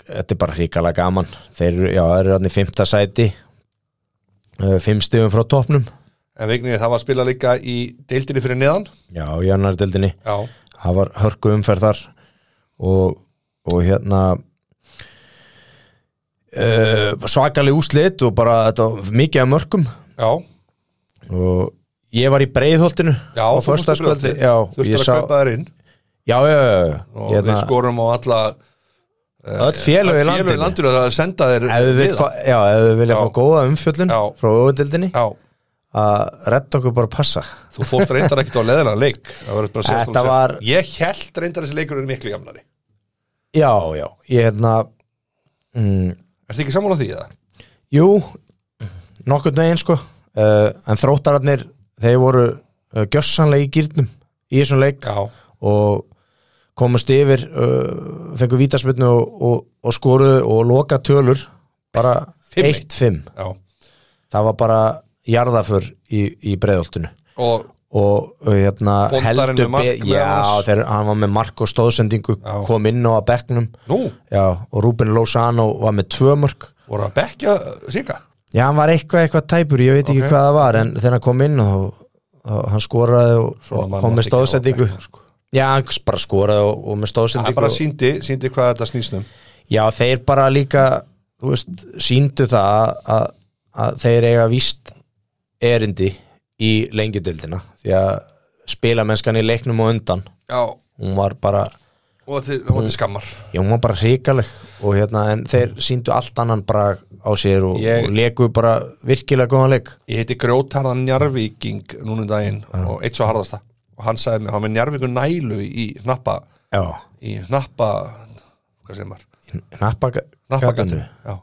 Speaker 2: þetta er bara hrikalega gaman Þeir eru, já, þeir eru hann í fymta sæti uh, Fimm stigum frá topnum
Speaker 1: en vegnir það var að spila líka í deildinni fyrir neðan
Speaker 2: Já, í annardeldinni
Speaker 1: já,
Speaker 2: það var hörku umferð þar og, og hérna eh, uh, svakaleg úslit og bara þetta, var mikið af mörkum
Speaker 1: já,
Speaker 2: og ég var í breiðholtinu
Speaker 1: Já,
Speaker 2: á
Speaker 1: þú fórst í
Speaker 2: föstudagskvöldi
Speaker 1: Breiðholtið.
Speaker 2: já,
Speaker 1: Þurftir
Speaker 2: ég
Speaker 1: að
Speaker 2: sá,
Speaker 1: kaupa þær inn
Speaker 2: já, já, já, já.
Speaker 1: og
Speaker 2: Hérna,
Speaker 1: við skorum á alla
Speaker 2: öll félög í
Speaker 1: öll félög
Speaker 2: landinu
Speaker 1: landinu að senda þér
Speaker 2: ef við, vill
Speaker 1: miða.
Speaker 2: fá, já, ef við
Speaker 1: Já.
Speaker 2: vilja fá góða umfjöllun
Speaker 1: Já.
Speaker 2: frá öfundildinni
Speaker 1: Já,
Speaker 2: að redda okkur bara að passa
Speaker 1: þú fórst reyndar ekkert á leðina leik Það verður bara að segja
Speaker 2: Þetta
Speaker 1: þú
Speaker 2: var-
Speaker 1: sér. Ég held reyndar þessi leikur er miklu gamlari
Speaker 2: já, já, ég hérna mm,
Speaker 1: Er þið ekki sammála því eða?
Speaker 2: jú nokkurn veginn sko uh, en þróttararnir, þeir voru uh, gjössanlega í gýrnum í þessum leik
Speaker 1: Já,
Speaker 2: og komast yfir uh, fengu vítaspilnu og, og, og skoruðu og loka tölur bara
Speaker 1: 5-1.
Speaker 2: 1-5
Speaker 1: já
Speaker 2: það var bara jarðaför í, í breiðoltinu
Speaker 1: Og
Speaker 2: og uh, hérna
Speaker 1: Bóndarinn
Speaker 2: heldur
Speaker 1: með mark
Speaker 2: be-
Speaker 1: meðal
Speaker 2: já,
Speaker 1: annars.
Speaker 2: þegar hann var með mark og stóðsendingu
Speaker 1: Já.
Speaker 2: kom inn á að bekknum
Speaker 1: nú,
Speaker 2: já, og Ruben Lozano var með tvö mörg
Speaker 1: voru að uh, bekja Sika?
Speaker 2: já, hann var eitthvað eitthvað tæpur, ég veit ekki
Speaker 1: Ok.
Speaker 2: hvað það var en þegar hann kom inn og, og hann skoraði og, og kom með stóðsendingu já, hann bara skoraði og, og
Speaker 1: sko.
Speaker 2: með
Speaker 1: Það
Speaker 2: stóðsendingu
Speaker 1: bara
Speaker 2: og-
Speaker 1: síndi, síndi hvað þetta um. snýstum
Speaker 2: Já, þeir bara líka þú veist, síndu það að, að, að þeir eiga víst erindi í lengjudildina því að spilamennskan í leiknum og undan
Speaker 1: Já, og
Speaker 2: hún var bara,
Speaker 1: þið, og þið skammar
Speaker 2: já hún var bara hrikaleg og hérna, en þeir síndu allt annan bara á sér og,
Speaker 1: Ég-
Speaker 2: og leku bara virkilega góðan leik
Speaker 1: Ég heiti Grjótarðan Njarvíking núna um daginn og eitt svo harðasta og hann sagði mér, hann var með Njarvíku nælu í hnappa,
Speaker 2: Já,
Speaker 1: í hnappa hvað segir maður, hnappagatinu
Speaker 2: nappagatinu
Speaker 1: já.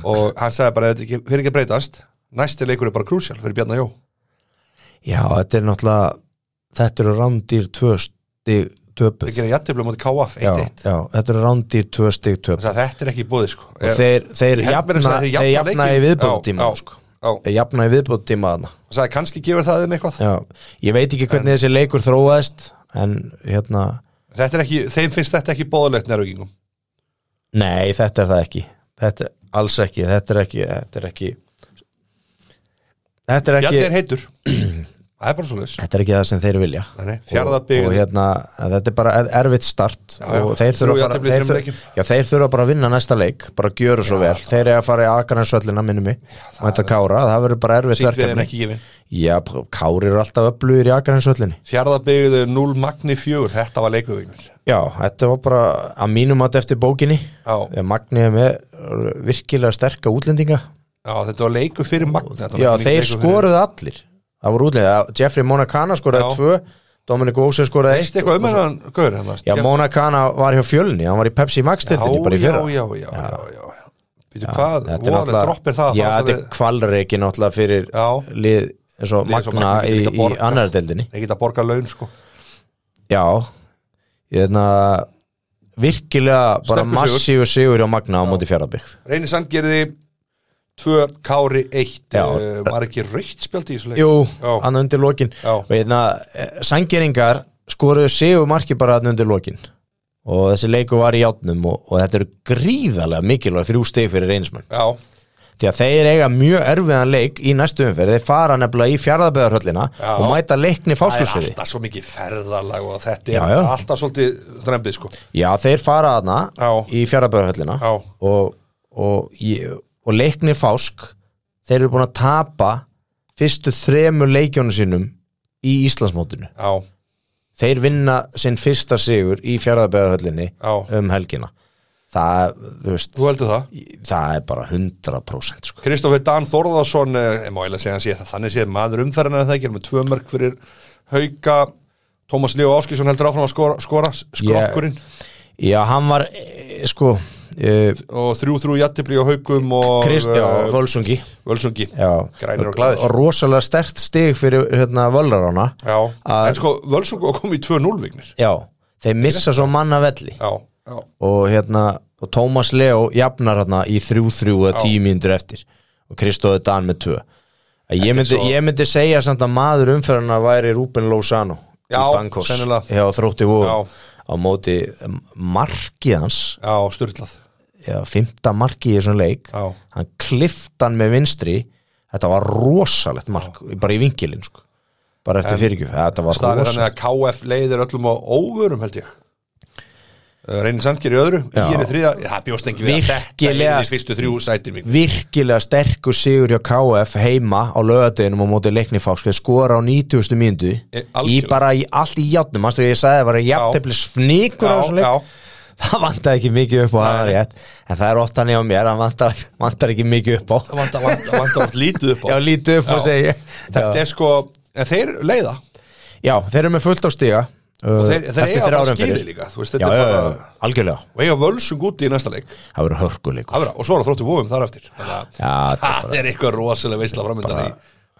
Speaker 1: og hann sagði bara, "Ef þetta ekki- fyrir ekki að breytast næsti leikur er bara krúsjál fyrir Bjarnar Jó
Speaker 2: Já, þetta er náttúrulega þetta eru rándýr tvö stig
Speaker 1: það
Speaker 2: töpuð
Speaker 1: gerir jættiflega mútið KF
Speaker 2: Já,
Speaker 1: 1-1
Speaker 2: já, þetta eru rándýr tvö stig töpuð
Speaker 1: Þannig að þetta er ekki í búið sko.
Speaker 2: og þeir, þeir
Speaker 1: Ég held meira
Speaker 2: jafna,
Speaker 1: að segja
Speaker 2: þeir
Speaker 1: þeir jafna
Speaker 2: jafna í
Speaker 1: leikinn.
Speaker 2: viðbóttíma
Speaker 1: Já, já.
Speaker 2: sko.
Speaker 1: Já.
Speaker 2: þeir jafna í viðbóttíma þarna
Speaker 1: og sagði kannski gefur það þeim eitthvað
Speaker 2: já. ég veit ekki hvernig þessi leikur þróaðist en hérna
Speaker 1: Þetta er ekki, þeim finnst þetta ekki bóðlegt nærvíkingum
Speaker 2: nei þetta er það ekki þetta er alls ekki þetta er ekki þetta er ekki þetta er ekki,
Speaker 1: Bjarni er heitur það er bara svo leis
Speaker 2: þetta er ekki það sem þeir vilja og,
Speaker 1: fjarðabygg
Speaker 2: og hérna, þetta er bara er- erfitt start
Speaker 1: já.
Speaker 2: og þeir
Speaker 1: Þrjú
Speaker 2: þurfa, bara,
Speaker 1: jafntefli í
Speaker 2: þeir,
Speaker 1: þremur
Speaker 2: þurfa,
Speaker 1: leikjum.
Speaker 2: já, þeir þurfa bara að vinna næsta leik bara gjöru svo vel, þeir eru að fara í Akarnarsöllina minnum mig, mæta kára það verður bara erfitt
Speaker 1: síkviðin
Speaker 2: verkefni
Speaker 1: ekki gefin
Speaker 2: Já, p- Kári eru alltaf öflugir í Akarhanshöllinni
Speaker 1: Fjarðabyggðu 0 Magni 4 þetta var leikuvignir
Speaker 2: Já, þetta var bara að mínum að eftir bókinni
Speaker 1: já,
Speaker 2: Þegar Magni er með uh, virkilega sterka útlendinga
Speaker 1: já, þetta var leiku fyrir Magni þetta var
Speaker 2: Já,
Speaker 1: ekki
Speaker 2: þeir
Speaker 1: leikur fyrir-
Speaker 2: skoruðu allir Það voru útlendinga, Jeffrey Monacana skoraði
Speaker 1: Já.
Speaker 2: tvö Dominic Ósef skoraði
Speaker 1: Veistu eitthvað um hennan gaur hann
Speaker 2: Já, Monacana var hjá fjölni, hann var í Pepsi Max tildinni bara í
Speaker 1: já,
Speaker 2: fyrra
Speaker 1: já, já, já, já. Býtu hvað,
Speaker 2: Þetta er
Speaker 1: voðalega droppir það
Speaker 2: Já,
Speaker 1: það
Speaker 2: þetta er
Speaker 1: ætlaði-
Speaker 2: kvalreiki náttúrulega fyrir
Speaker 1: Já.
Speaker 2: lið eins og
Speaker 1: Lið eins og
Speaker 2: Magna
Speaker 1: Magna
Speaker 2: í,
Speaker 1: getur líka
Speaker 2: í
Speaker 1: borgað.
Speaker 2: annar deildinni
Speaker 1: Þeir geta að borga laun sko
Speaker 2: Já ég hefna virkilega bara
Speaker 1: Sterkur
Speaker 2: massíu sigur á Magna á móti fjaraðbyggð
Speaker 1: Reyni Sandgerði 2 Kári 1
Speaker 2: Já.
Speaker 1: uh, var ekki raukt spjaldi í þessu leik
Speaker 2: Jú,
Speaker 1: Já.
Speaker 2: hann undir lokin
Speaker 1: Já.
Speaker 2: og hérna, sangeringar skoruðu sigur marki bara hann undir lokin og þessi leiku var í játnum og, og þetta eru gríðarlega mikilvæg þrjú stig fyrir reynismann
Speaker 1: já,
Speaker 2: því að þeir eiga mjög erfiðan leik í næstu umferð, þeir fara nefnilega í fjaraðbyggðarhöllina
Speaker 1: Já.
Speaker 2: og mæta
Speaker 1: það
Speaker 2: leikni
Speaker 1: er
Speaker 2: fáskursöði
Speaker 1: alltaf svo mikið ferðalag og þetta er
Speaker 2: Já, já.
Speaker 1: alltaf svolítið strempið sko
Speaker 2: Já, þeir fara aðna
Speaker 1: Já.
Speaker 2: í fjaraðbæðarhöllina
Speaker 1: Já.
Speaker 2: og, og, ég- og leiknir fásk þeir eru búin að tapa fyrstu þremur leikjónu sínum í Íslandsmótinu
Speaker 1: Já,
Speaker 2: þeir vinna sinn fyrsta sigur í fjaraðbæðarhöllinni
Speaker 1: já,
Speaker 2: um helgina það, þú veist,
Speaker 1: þú heldur það
Speaker 2: það er bara 100% sko.
Speaker 1: Kristoffer Dan Þorðarsson eh, ég má eiginlega segja hann sé það, þannig sé maður umferðina en það ekki, hann er með tvö mörg fyrir hauka Tómas Líó Áskísson heldur áfram að skora, skora skrokkurinn
Speaker 2: Já, hann var eh, sko eh,
Speaker 1: og þrjú þrjú jattibli á haukum og
Speaker 2: Krist, já,
Speaker 1: eh,
Speaker 2: Völsungi
Speaker 1: Völsungi
Speaker 2: já,
Speaker 1: Grænir og glaðir.
Speaker 2: rosalega stert stig fyrir hérna, völrarána
Speaker 1: Já,
Speaker 2: Að-
Speaker 1: en sko Völsungi var komið í 2-0 vignir
Speaker 2: Já, þeir missa svo manna velli
Speaker 1: Já, já,
Speaker 2: og hérna og Tómas Leo jafnar hérna í 3-3 eða
Speaker 1: Já.
Speaker 2: 10 mínútur eftir og Kristóði Dan með 2 ég myndi,
Speaker 1: svo-
Speaker 2: ég myndi segja samt að maður umferðina væri Ruben Lozano
Speaker 1: Já,
Speaker 2: í Bankos
Speaker 1: sennilega.
Speaker 2: hjá þrótti
Speaker 1: Já.
Speaker 2: vóðum á móti um, markið hans
Speaker 1: já, styrlað
Speaker 2: já, fymta markið í þessum leik
Speaker 1: Já,
Speaker 2: hann kliftan með vinstri þetta var rosalegt mark bara í vingilinn sko bara eftir fyrirgjöf, þetta var
Speaker 1: staðan er
Speaker 2: rosalegt
Speaker 1: þannig að KF leiðir öllum á óvörum held ég Uh, Reynir Sandkjær í öðru,
Speaker 2: Já.
Speaker 1: ég er í þriða það bjóst ekki við að þetta er
Speaker 2: Virkilega-
Speaker 1: í fyrstu þrjú sætir mín
Speaker 2: virkilega sterkur sigur hjá KF heima á lögadeginum á móti leiknifásk skora á 90. mínútu í
Speaker 1: E, algjörlega.
Speaker 2: bara í allt í játnum manstu ég sagði það var játnefli sníkur á þessum
Speaker 1: já,
Speaker 2: leik
Speaker 1: já,
Speaker 2: það vantar ekki mikið upp á það er
Speaker 1: Nei.
Speaker 2: rétt en það er oft hann hjá mér hann vantar, vantar ekki mikið upp á
Speaker 1: það vanda, vanda, vanda oft lítið upp á
Speaker 2: já lítið upp á
Speaker 1: Já.
Speaker 2: segi ég.
Speaker 1: þetta
Speaker 2: já.
Speaker 1: er sko, en þeir leiða
Speaker 2: já þeir eru með fullt á stiga uh,
Speaker 1: og þeir, þeir
Speaker 2: eftir
Speaker 1: eiga
Speaker 2: þrjár
Speaker 1: bara
Speaker 2: umferðir.
Speaker 1: skýri líka þú veist,
Speaker 2: já,
Speaker 1: þetta
Speaker 2: já,
Speaker 1: er bara,
Speaker 2: já, algjörlega
Speaker 1: og eiga völsung úti í næsta leik
Speaker 2: það verður hörkuleikur
Speaker 1: Afra, og svo er það þróttu vóum þar eftir þannig að
Speaker 2: Já, þetta er
Speaker 1: það er eitthvað rosalega veisla framöndan í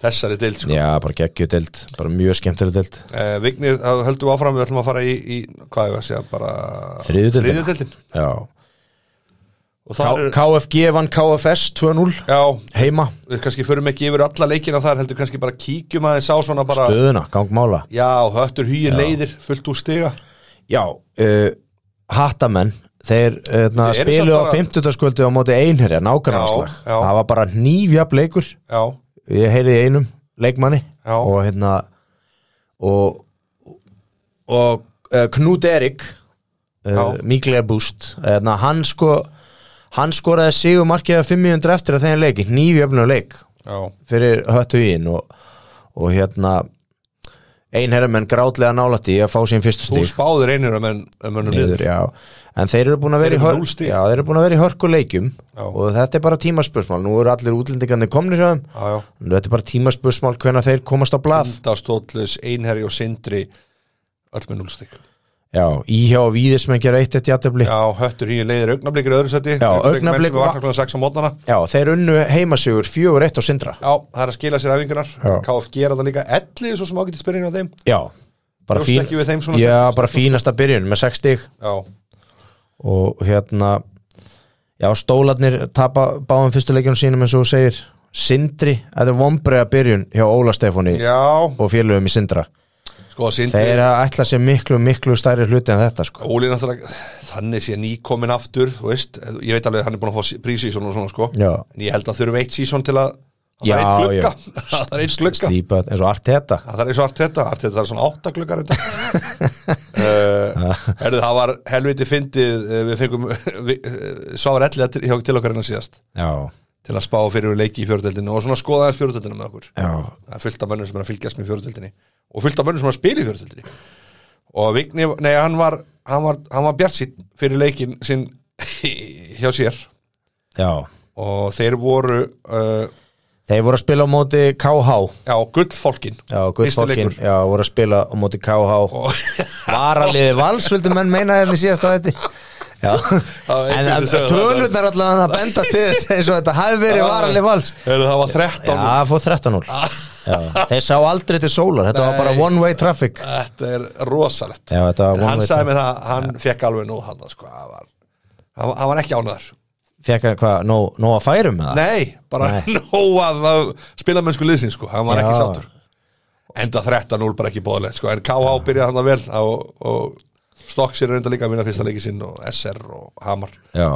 Speaker 1: þessari deild sko.
Speaker 2: já bara geggju deild bara mjög skemmtileg deild
Speaker 1: uh, Vignir, það höldum við áfram við ætlum að fara í, í hvað ég að segja, bara
Speaker 2: Þriðju deildina.
Speaker 1: deildin.
Speaker 2: já
Speaker 1: og
Speaker 2: K
Speaker 1: það er,
Speaker 2: KFG vann KFS 2-0
Speaker 1: já,
Speaker 2: heima
Speaker 1: við kannski förum ekki yfir alla leikina þar heldur kannski bara kíkjum aðeins á svona bara
Speaker 2: stöðuna, gangmála
Speaker 1: Já, höttur hýin leiðir fullt úr stiga
Speaker 2: já, uh, hattamenn þeir uh,
Speaker 1: Þeir eru
Speaker 2: spilu
Speaker 1: samt
Speaker 2: á
Speaker 1: bara-
Speaker 2: 50. á móti einherja nákvæmlega
Speaker 1: Já, já.
Speaker 2: það var bara nýfjab leikur
Speaker 1: Já,
Speaker 2: ég heyrði í einum leikmanni
Speaker 1: Já.
Speaker 2: og hérna og, og uh, Knút Erik uh,
Speaker 1: Já.
Speaker 2: miklega búst hérna, hann sko hann skoraði sigur markiða 500 eftir að þeim leiki nýfjöfnum leik
Speaker 1: já,
Speaker 2: fyrir höttu í inn og, og hérna einherjamenn grátlega nálætt í að fá sín fyrstu
Speaker 1: þú
Speaker 2: stík
Speaker 1: spáðir einir um önum niður
Speaker 2: niður, já, en þeir eru búin að vera í
Speaker 1: Þeir eru með
Speaker 2: hör-
Speaker 1: núll stig.
Speaker 2: já, þeir eru búin að vera í hörkuleikjum
Speaker 1: Já.
Speaker 2: og þetta er bara tímaspursmál nú eru allir útlendingarnir komnir hjá þeim
Speaker 1: Já, já,
Speaker 2: Nú, þetta er bara tímaspursmál hvenær þeir komast á blað
Speaker 1: Andastóllus, Einherji og Sindri öll með núlstig
Speaker 2: Já, íhjá og víðismenn gera eitt eitt játtöfli Já.
Speaker 1: Já, höttur hýin leiðir augnablikir öðru seti
Speaker 2: Já, Augnablik
Speaker 1: menn sem
Speaker 2: var-
Speaker 1: vakna klokkan 6 á mótnana
Speaker 2: þeir unnu heimasugur fjögur eitt á sindra
Speaker 1: Já, það er að skila sér æfingunar
Speaker 2: Já.
Speaker 1: KFG er það líka ellið svo sem ágætið spyrir á þeim
Speaker 2: Já, bara,
Speaker 1: Bjóst ekki við þeim svona
Speaker 2: Já,
Speaker 1: snemma?
Speaker 2: bara fínasta byrjun með 6 stig
Speaker 1: Já,
Speaker 2: og hérna Já, stólarnir tapa báðum fyrstu leikjunum sínum eins og þú segir Sindri, þetta er vombreiða byrjun hjá Óla Stefáni
Speaker 1: já,
Speaker 2: og félögum í Sindra
Speaker 1: sko Sindri
Speaker 2: Þeir ætla sér miklu, miklu stærri hluti en þetta sko
Speaker 1: Óli náttúrulega, þannig sé nýkomin aftur, þú veist, ég veit alveg að hann er búin að fá prísísón og svona sko
Speaker 2: Já.
Speaker 1: en ég held að þurfa eitt sísón til að að
Speaker 2: Já,
Speaker 1: það er
Speaker 2: já.
Speaker 1: eitt glugga, það er eitt glugga
Speaker 2: Slípa, eins og Arteta
Speaker 1: Það er eins og Arteta, Arteta það er svona átta gluggar þetta uh, Herðu, það var helviti fyndið eh, við fengum við, eh, Svavar Elliða til, hjá- til okkar innan síðast
Speaker 2: Já,
Speaker 1: til að spá fyrir við leiki í fjörutöldinu og svona skoða aðeins fjörutöldinu með okkur
Speaker 2: já,
Speaker 1: það er fullt af mönnum sem er að fylgjast með fjörutöldinni og fullt af mönnum sem er að spila í fjörutöldinni og Vigni, nei hann var hann var, hann var bjart sín fyrir leikin sinn hjá sér
Speaker 2: já
Speaker 1: og þeir voru uh,
Speaker 2: Þeir voru að spila á móti KH
Speaker 1: já, gullfólkin
Speaker 2: Já,
Speaker 1: Fyrsti
Speaker 2: guttfólkin,
Speaker 1: leikur.
Speaker 2: já, voru að spila á móti KH Varaliði vals, vildu menn meina hérna í síðasta þetta Já,
Speaker 1: var einhver
Speaker 2: en
Speaker 1: sem sagði það.
Speaker 2: tölunar allan að benda til þess eins og þetta hafi verið varalið vals
Speaker 1: Heyrðu, það var
Speaker 2: Já,
Speaker 1: 13
Speaker 2: það fór 13-0 Já, Þeir sá aldrei til sólar, þetta var
Speaker 1: Ah. Nei.
Speaker 2: bara one way traffic Já,
Speaker 1: Þetta er rosalegt
Speaker 2: þetta
Speaker 1: Hann
Speaker 2: var one way
Speaker 1: sagði
Speaker 2: traffic
Speaker 1: mig það, að hann fekk alveg nóg hann sko, hann var, hann, var- hann var ekki ánæður
Speaker 2: Fekka hvað, nóg, nóg að færum með það?
Speaker 1: Nei, bara
Speaker 2: Ah. Nei.
Speaker 1: nóg að, að spila mennsku liðsins sko, hann var
Speaker 2: Já.
Speaker 1: ekki sáttur Enda 13-0 bara ekki bóðilegt sko, en KH byrjaði hann vel og, og Stokks er reynda líka að vinna fyrsta leiki sinn og SR og Hamar
Speaker 2: Já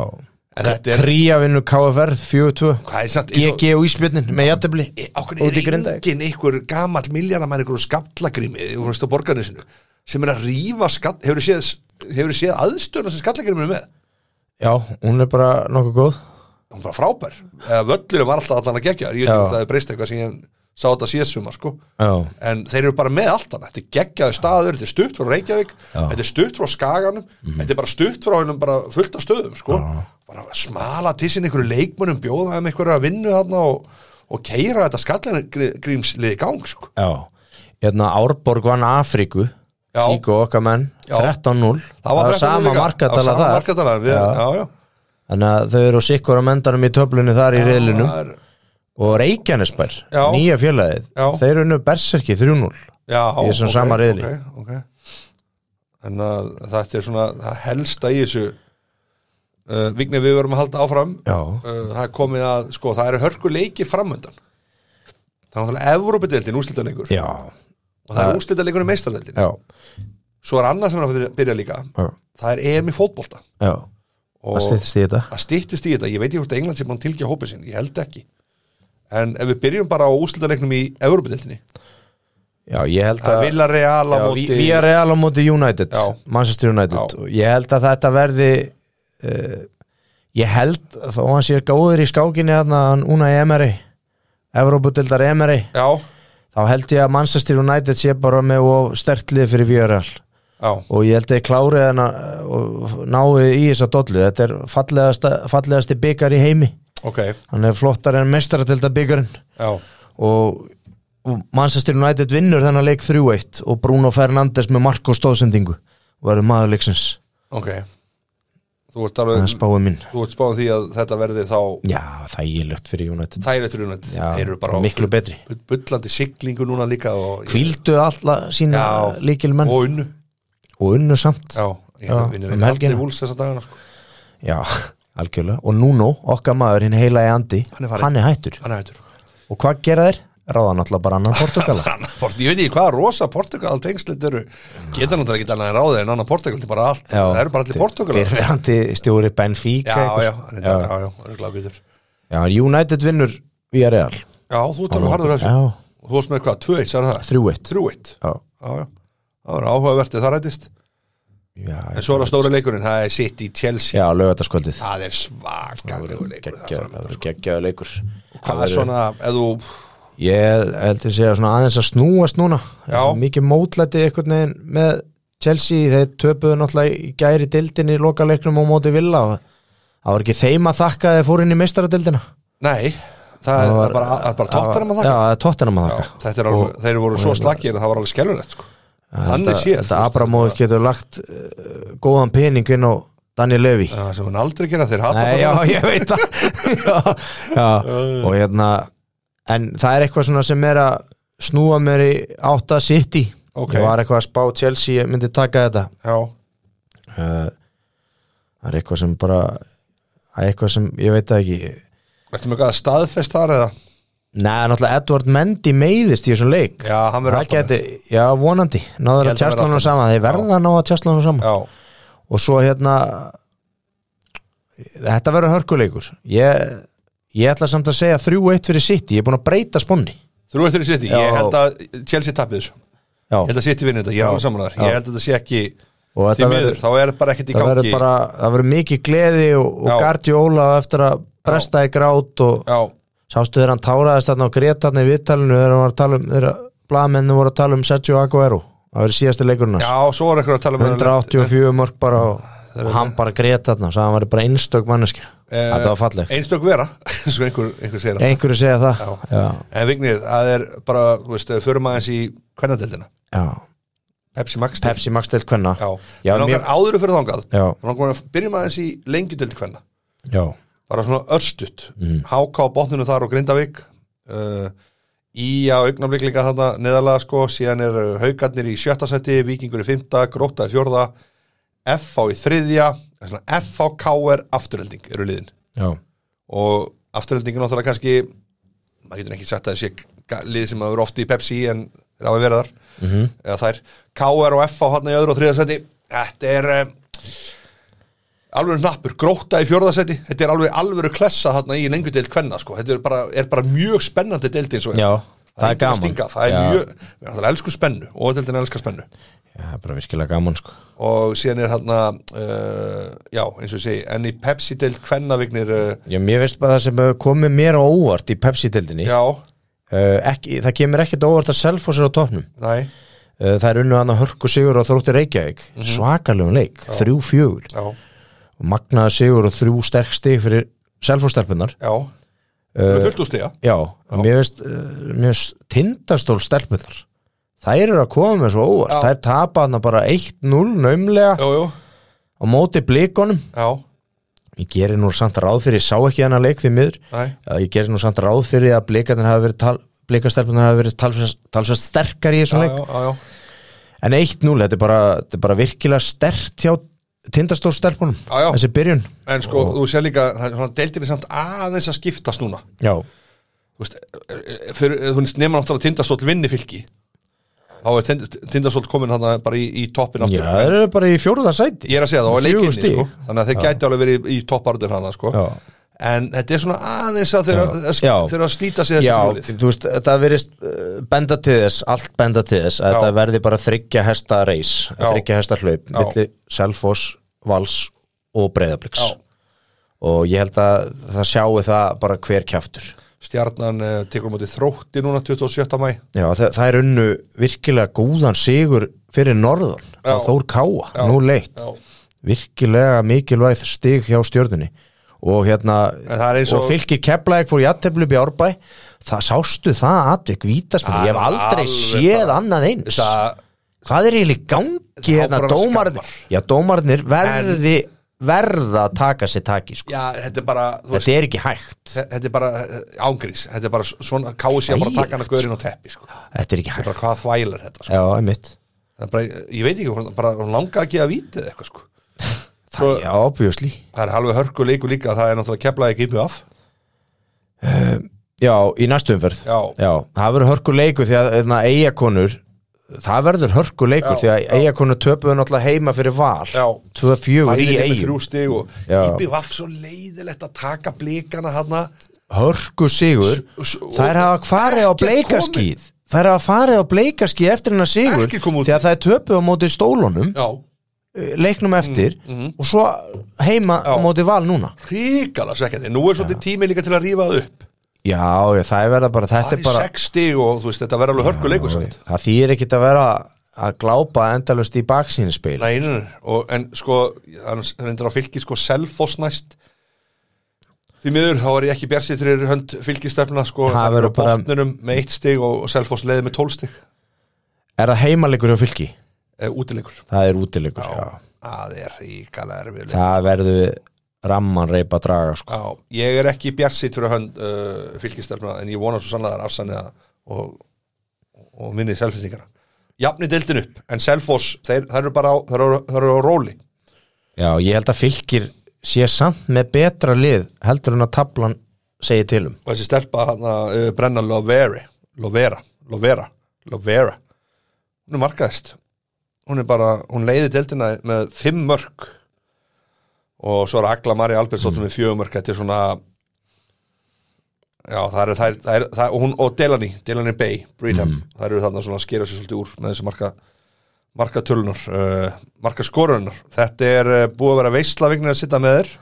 Speaker 1: En þetta er,
Speaker 2: Kría vinnu KFR 4-2
Speaker 1: hvað er satt eins og-
Speaker 2: GG og Ísbjörnin með jættefli
Speaker 1: Ákveð
Speaker 2: Úti í
Speaker 1: er
Speaker 2: Grindavík.
Speaker 1: engin einhver gamall miljardamæn einhver úr skallagrými úr fyrsta borgarnesinu sem er að rífa skall, hefur séð, hefurðu séð aðstöðuna sem skallagrými er með
Speaker 2: Já, hún er bara nokkuð góð
Speaker 1: hún var frábær eða völlurinn var alltaf allan að gegja ég veit
Speaker 2: Já.
Speaker 1: ekki að það er breyst eitthvað sem ég sá þetta síðast sumar sko
Speaker 2: Já
Speaker 1: en þeir eru bara með allt hann þetta er geggjaði staður, þetta er stutt frá Reykjavík þetta er stutt frá Skaganum
Speaker 2: Mhm.
Speaker 1: þetta er bara stutt frá hennum bara fullt af stöðum sko bara smala til sinni einhverju leikmönnum bjóða þeim einhverju að vinnu þarna og, og keira þetta skallangrímsliði gang sko
Speaker 2: Já, hérna Árborg vann Afríku
Speaker 1: Já.
Speaker 2: Tíko okkar menn,
Speaker 1: Já.
Speaker 2: 13-0 Það var
Speaker 1: 13
Speaker 2: sama
Speaker 1: líka. Það var
Speaker 2: markatala
Speaker 1: sama
Speaker 2: þar
Speaker 1: markatala, við- já, já.
Speaker 2: Þannig að þau eru sikkur á mendanum í töflunni þar í riðlunum
Speaker 1: Það er-
Speaker 2: Og Reykjanesbær,
Speaker 1: Já.
Speaker 2: nýja félagið
Speaker 1: Já.
Speaker 2: Þeir eru nú berserki 3-0
Speaker 1: Já,
Speaker 2: Í þessum
Speaker 1: ok,
Speaker 2: sama riðli.
Speaker 1: ok, ok. En að þetta er svona það helsta í þessu uh, Vignir við verum að halda áfram uh,
Speaker 2: Já,
Speaker 1: það er komið að, sko, það eru hörku leiki framöndan Það er náttúrulega Evrópideldin úrslitaleikur
Speaker 2: já,
Speaker 1: og það er úrslitaleikur í meistardeldin
Speaker 2: já,
Speaker 1: Svo er annað sem er að byrja- byrja líka
Speaker 2: já,
Speaker 1: það er EM í fótbolta
Speaker 2: já.
Speaker 1: og
Speaker 2: Það stýttist í þetta
Speaker 1: það stýttist í þetta, ég veit ekki hvort að England sé búin að tilkja hópið sinn, ég held ekki En ef við byrjum bara á úrslitaleiknum í Evrópideldinni
Speaker 2: Já, ég held
Speaker 1: Það
Speaker 2: að
Speaker 1: er Villarreal á
Speaker 2: Já,
Speaker 1: móti
Speaker 2: Vi- Villarreal á móti United
Speaker 1: Já.
Speaker 2: Manchester United
Speaker 1: Já.
Speaker 2: og ég held að þetta verði uh, ég held að þó hann sé góður í skákinni þarna hann Unai Emery Evrópudildar Emery
Speaker 1: Já,
Speaker 2: þá held ég að Manchester United sé bara með og stertlið fyrir Villarreal
Speaker 1: já,
Speaker 2: og ég held að ég klárið hann að og náið í þessa dollu þetta er fallegasta, fallegasti byggar í heimi
Speaker 1: ok
Speaker 2: hann er flottar en mestaratilda byggarinn
Speaker 1: Já,
Speaker 2: og og Manchester United vinnur þennan leik 3-1 og Bruno Fernandes með Marko stóðsendingu verður maður leiksins
Speaker 1: ok Þú ert
Speaker 2: það
Speaker 1: alveg,
Speaker 2: er spáið mín
Speaker 1: þú ert spáðum því að þetta verði þá
Speaker 2: já, þægilegt fyrir United
Speaker 1: Það er eitthvað rúnand
Speaker 2: já,
Speaker 1: Þeir eru bara á
Speaker 2: miklu betri
Speaker 1: bu- bullandi siglingu núna líka og,
Speaker 2: kvíldu alla sína
Speaker 1: Já.
Speaker 2: líkilmenn og,
Speaker 1: og unnu
Speaker 2: unnu samt já,
Speaker 1: Já, ég
Speaker 2: Já,
Speaker 1: þarf vinna
Speaker 2: um
Speaker 1: við
Speaker 2: helgina.
Speaker 1: allir vúls þessa dagana sko.
Speaker 2: algjörlega og Nuno, okkar maður hinn heila í andi
Speaker 1: Hann er farinn.
Speaker 2: hættur
Speaker 1: Hann er hættur
Speaker 2: og hvað gera þeir? ráða náttúrulega bara annan Portugala
Speaker 1: Hann er Port- Ég veit ekki hvaða rosa Portugal tengslit eru Geta náttúrulega ekki annað en ráðið en annan Portugal Það er bara allt,
Speaker 2: Já.
Speaker 1: það eru bara allir Portugal Já,
Speaker 2: fyrirverandi stjóri Benfica eitthvað.
Speaker 1: já, hann er
Speaker 2: Já.
Speaker 1: já, já, hann er glábítur
Speaker 2: já, en United vinnur via Real
Speaker 1: Já, þú ert alveg harður að þessu
Speaker 2: Já,
Speaker 1: Þú varst með hvað, 2-1, sagði það?
Speaker 2: 3-1
Speaker 1: 3-1
Speaker 2: Já.
Speaker 1: Já, já Það var áhugavertið það rættist
Speaker 2: Já,
Speaker 1: En svo er það stóra leikurinn, það er City Chelsea
Speaker 2: Já, lögataskvöldið
Speaker 1: Það er svakalegur leikur það framöndan, sko.
Speaker 2: Geggjaðu leikur
Speaker 1: Hvað er svona, ef þú
Speaker 2: Ég held að segja svona aðeins að snúast núna Það er
Speaker 1: Já.
Speaker 2: svo Mikið mótlæti einhvern veginn með Chelsea Þeir töpuðu náttúrulega í gæri dildin í lokaleiknum og móti Villa og Það var ekki þeim að þakka að þeir fóru inn í meistaradildina
Speaker 1: Nei, það er- það er bara, það er bara tóttanum að
Speaker 2: Já,
Speaker 1: þakka
Speaker 2: það er tóttanum að
Speaker 1: Já,
Speaker 2: þakka
Speaker 1: Þetta er alveg, þeir voru svo slakir að það var alveg skelfulegt sko. Þannig
Speaker 2: hérna- Þetta-
Speaker 1: séð þú
Speaker 2: Þetta
Speaker 1: veist,
Speaker 2: Abramóð getur lagt uh, góðan pening inn á Daniel Levy
Speaker 1: Já, sem hann aldrei gera þeir hata
Speaker 2: Nei,
Speaker 1: bara
Speaker 2: já,
Speaker 1: það.
Speaker 2: ég veit það já, já, og hérna en það er eitthvað svona sem er að snúa mér í átta city
Speaker 1: Ok.
Speaker 2: ég var eitthvað að spá Chelsea ég myndi taka þetta
Speaker 1: já,
Speaker 2: uh, það er eitthvað sem bara það er eitthvað sem, ég veit það ekki
Speaker 1: Ertu með hvað staðfest þar eða?
Speaker 2: Nei, náttúrulega Edward Mendy meiðist í þessum leik
Speaker 1: Já, hann verður
Speaker 2: það
Speaker 1: alltaf
Speaker 2: geti, já, vonandi náður
Speaker 1: Ég held að
Speaker 2: að
Speaker 1: hann verði
Speaker 2: tjastla hann
Speaker 1: alltaf
Speaker 2: saman,
Speaker 1: með.
Speaker 2: þeir verða að ná að tjastla hann saman
Speaker 1: Já,
Speaker 2: og svo hérna þetta verður hörkuleikur ég, ég ætla samt að segja 3-1 fyrir City, ég er búin að breyta sponni
Speaker 1: þrjú eftir í City
Speaker 2: Já.
Speaker 1: Ég held að Chelsea tapir þessu
Speaker 2: já,
Speaker 1: Ég held að City vinni þetta, ég er alveg saman þar Ég held að þetta sé ekki
Speaker 2: og
Speaker 1: því
Speaker 2: þetta
Speaker 1: miður
Speaker 2: verður
Speaker 1: Þá er bara ekkert í
Speaker 2: það
Speaker 1: gangi
Speaker 2: verður bara, það verður mikið gleði og,
Speaker 1: Já.
Speaker 2: og Guardiola á eftir að bresta í grát og
Speaker 1: Já,
Speaker 2: sástu þegar hann táraðist þarna og grét þarna í viðtalinu þegar hann var að tala um, þegar blaðmennu voru að tala um Sergio Aguero, það verður síðasti leikurinn hans.
Speaker 1: já, svo er eitthvað að tala um
Speaker 2: 184 mörg bara og, og hann bara grét þarna og sagði hann verður bara einstök manneskja
Speaker 1: Eh,
Speaker 2: þetta var fallegt,
Speaker 1: Einstök vera, svo einhver, einhver segir það
Speaker 2: einhverju segja það
Speaker 1: Já.
Speaker 2: já,
Speaker 1: En Vignir, það er bara, þú veist, ef við förum aðeins í kvennadeldina
Speaker 2: já.
Speaker 1: Pepsi Max deild.
Speaker 2: Pepsi Max til kvenna
Speaker 1: Já,
Speaker 2: Já,
Speaker 1: já langar
Speaker 2: mér-
Speaker 1: mér... áður fyrir þangað
Speaker 2: já,
Speaker 1: Mig langar að byrjum aðeins í lengjudeldi kvenna
Speaker 2: já,
Speaker 1: bara svona örstutt mm. HK á botninu þar og Grindavík uh, í á augnablik líka þarna neðalega sko, síðan er uh, haugarnir í sjötta seti, vikingur í fymta gróta í fjórða, FH í þriðja það er svona FH KR afturhelding eru liðin
Speaker 2: já,
Speaker 1: og afturheldingin náttúrulega kannski maður getur ekki sagt að það sé ga- lið sem hafa verið oft í Pepsi en þeir hafa verið þar -hmm. eða þær KR og FH hann í öðru og þriða seti þetta er um, alveg hnappur, gróta í fjórða seti þetta er alveg alveg klessa hann í lengu deild kvenna sko. þetta er bara, er bara mjög spennandi deild eins og er.
Speaker 2: já
Speaker 1: það, er enginn að stinga, það er
Speaker 2: já,
Speaker 1: mjög, við erum alltaf elsku spennu og deildin elskar spennu
Speaker 2: já, það er bara virkilega gaman sko
Speaker 1: og síðan er hann uh, já, eins og ég segi, en í Pepsi deild kvennavignir, uh,
Speaker 2: já, mér veist bara það sem hefur komið mér á óvart í Pepsi-dildinni uh,
Speaker 1: já,
Speaker 2: ekki, það kemur ekkert á óvart að Selfoss er á topnum
Speaker 1: næ
Speaker 2: uh, það er unnu hann að hörku sigur á þrótti Reykjavík
Speaker 1: Mhm.
Speaker 2: svakalegum leik, þrjú fjögur
Speaker 1: já,
Speaker 2: magnaða sigur og þrjú sterk stig fyrir Selfoss-stelpunnar
Speaker 1: já Eh, með fullt úr stiga
Speaker 2: já, já. mér veist uh, mér veist tindastól stelpunnar þær eru að koma með svo óvart
Speaker 1: Já.
Speaker 2: þær tapa hann bara 1-0 naumlega
Speaker 1: jú, jú,
Speaker 2: á móti blikonum
Speaker 1: já,
Speaker 2: ég gerir nú samt ráð fyrir, ég sá ekki hennar leik því miður,
Speaker 1: nei
Speaker 2: að ég gerir nú samt ráð fyrir að blikarnir hafa verið tal, blikarsterfnir hafa verið talsvert talsvert sterkar í
Speaker 1: já,
Speaker 2: þessum
Speaker 1: já,
Speaker 2: leik,
Speaker 1: já, já,
Speaker 2: en 1-0 þetta er bara, þetta er bara virkilega stert hjá tindastórsterfunum,
Speaker 1: Já, já.
Speaker 2: þessi byrjun
Speaker 1: en sko, þú sér líka það er svona deildir samt aðeins að skiptast núna
Speaker 2: já,
Speaker 1: þú veist, eh, fyrir, þú veist, nema náttúrulega tindastóll vinni fylki þá er tind, tindastóll komin hann bara í, í toppin
Speaker 2: já,
Speaker 1: aftur
Speaker 2: það eru bara í fjóruða sæti
Speaker 1: ég er að segja það, og
Speaker 2: Fjögur
Speaker 1: leikinni
Speaker 2: stig.
Speaker 1: sko þannig að þeir gæti alveg verið í, í topparður hann sko
Speaker 2: já,
Speaker 1: en þetta er svona aðeins að þeirra
Speaker 2: Já.
Speaker 1: að,
Speaker 2: Já.
Speaker 1: þeirra að slíta sig þessi
Speaker 2: Já,
Speaker 1: frálið
Speaker 2: þú veist, þetta verðist uh, benda til þess, allt benda til þess að
Speaker 1: Já.
Speaker 2: þetta verði bara þryggja hesta reis
Speaker 1: Já.
Speaker 2: þryggja hesta hlaup,
Speaker 1: Já.
Speaker 2: milli Selfoss, Vals og Breiðabliks
Speaker 1: Já.
Speaker 2: og ég held að það sjáu það bara hver kjaftur
Speaker 1: stjarnan uh, tekur á móti þrótti núna 27. mæ
Speaker 2: Já, það, það er unnu virkilega góðan sigur fyrir norðan,
Speaker 1: Já.
Speaker 2: að Þór Káa
Speaker 1: Já.
Speaker 2: nú leitt,
Speaker 1: Já.
Speaker 2: virkilega mikilvægt stig hjá stjörnunni og hérna,
Speaker 1: En það er eins og-
Speaker 2: og fylgir keflaðið fór jætteflu upp í árbæ það sástu það atvik vítaspil ég
Speaker 1: Það
Speaker 2: hef
Speaker 1: er
Speaker 2: aldrei
Speaker 1: alveg
Speaker 2: séð
Speaker 1: bara-
Speaker 2: annað eins
Speaker 1: það,
Speaker 2: hvað er eiginlega í gangi
Speaker 1: Það
Speaker 2: hérna
Speaker 1: ábúrar
Speaker 2: dómarnir
Speaker 1: skammar.
Speaker 2: já dómarnir verði verða að taka sér taki sko.
Speaker 1: já, þetta er bara þú veist,
Speaker 2: þetta er ekki hægt
Speaker 1: þetta er bara ángrís þetta er bara svona káu sér bara að taka hann að gaurinn og teppi sko.
Speaker 2: þetta er ekki
Speaker 1: bara
Speaker 2: hægt
Speaker 1: hvað þvælar þetta sko.
Speaker 2: já einmitt
Speaker 1: Það er bara, ég veit ekki, hún- bara hún langa ekki að vítið eitthvað sko.
Speaker 2: það, já obviously
Speaker 1: það er halveg hörku leiku líka það er náttúrulega keflaði ekki yfir af
Speaker 2: já í næstu umferð
Speaker 1: Já.
Speaker 2: það verður hörku leikur því að hérna, eigakonur það verður hörku leikur
Speaker 1: Já,
Speaker 2: því að eigakonur töpuðu náttúrulega heima fyrir val
Speaker 1: Já. bæði
Speaker 2: 2-4 í
Speaker 1: með
Speaker 2: eigum
Speaker 1: þrjú stig og
Speaker 2: Já.
Speaker 1: yfir af svo leiðilegt að taka blikana hana
Speaker 2: hörku sigur
Speaker 1: S- s-
Speaker 2: þær hafa farið á
Speaker 1: Ekkert
Speaker 2: bleikaskíð þær hafa farið á bleikaskíð eftir hennar sigur
Speaker 1: Ekki kom út.
Speaker 2: þegar það er töpuð á móti stólunum eh,
Speaker 1: já,
Speaker 2: leiknum eftir og svo heima á
Speaker 1: Mhm, Já.
Speaker 2: móti val núna
Speaker 1: ríkala svekkjandi nú er svolítið tími líka til að rífa það upp
Speaker 2: já, já það er verða bara þetta
Speaker 1: það
Speaker 2: er
Speaker 1: er
Speaker 2: bara
Speaker 1: 6 stig og þú veist þetta verður alveg sko. hörku leiku samt
Speaker 2: það þýr ekkit að vera að glápa endalust í baksínspil
Speaker 1: Nei, nei, nei. og, en sko hann reyndir á fylki sko selfoss næst því miður þá var ég ekki bjarsið þegar hönd fylkistefna sko
Speaker 2: Það
Speaker 1: þær eru
Speaker 2: verður bara-
Speaker 1: á botninum með eitt stig og, og selfoss leiði með 12 stig
Speaker 2: er það heimalegur hjá fylki?
Speaker 1: e, útileikur
Speaker 2: það er útilegur já.
Speaker 1: það er ríkala erfið
Speaker 2: það verður ramman reypa draga sko.
Speaker 1: Já, ég er ekki bjarsið fyrir hönd uh, fylkistefna en ég vona svo sannlega þar afsanniða og, og minni selfinsingarna Jafni deildin upp, en Selfoss þeir, þeir eru bara á, þeir eru, þeir eru á róli
Speaker 2: já, ég held að fylkir sé samt með betra lið heldur en að tablan segi til um
Speaker 1: og þessi stelpa hana, uh, brenna Loveri Lovera, Lovera, Lovera hún er markaðist hún er bara, hún leiði deildina með fimm mörg og svo er Agla Marja Albertsdóttir með fjögur mörg þetta er svona já, það eru þær, það er, það, og, hún, og Delany, Delany Bay, Breedham það eru þarna svona að skera sér svolítið úr með þessi marka markatölunar, uh, markaskorunar þetta er uh, búið að vera veistlavignir að sitta með þér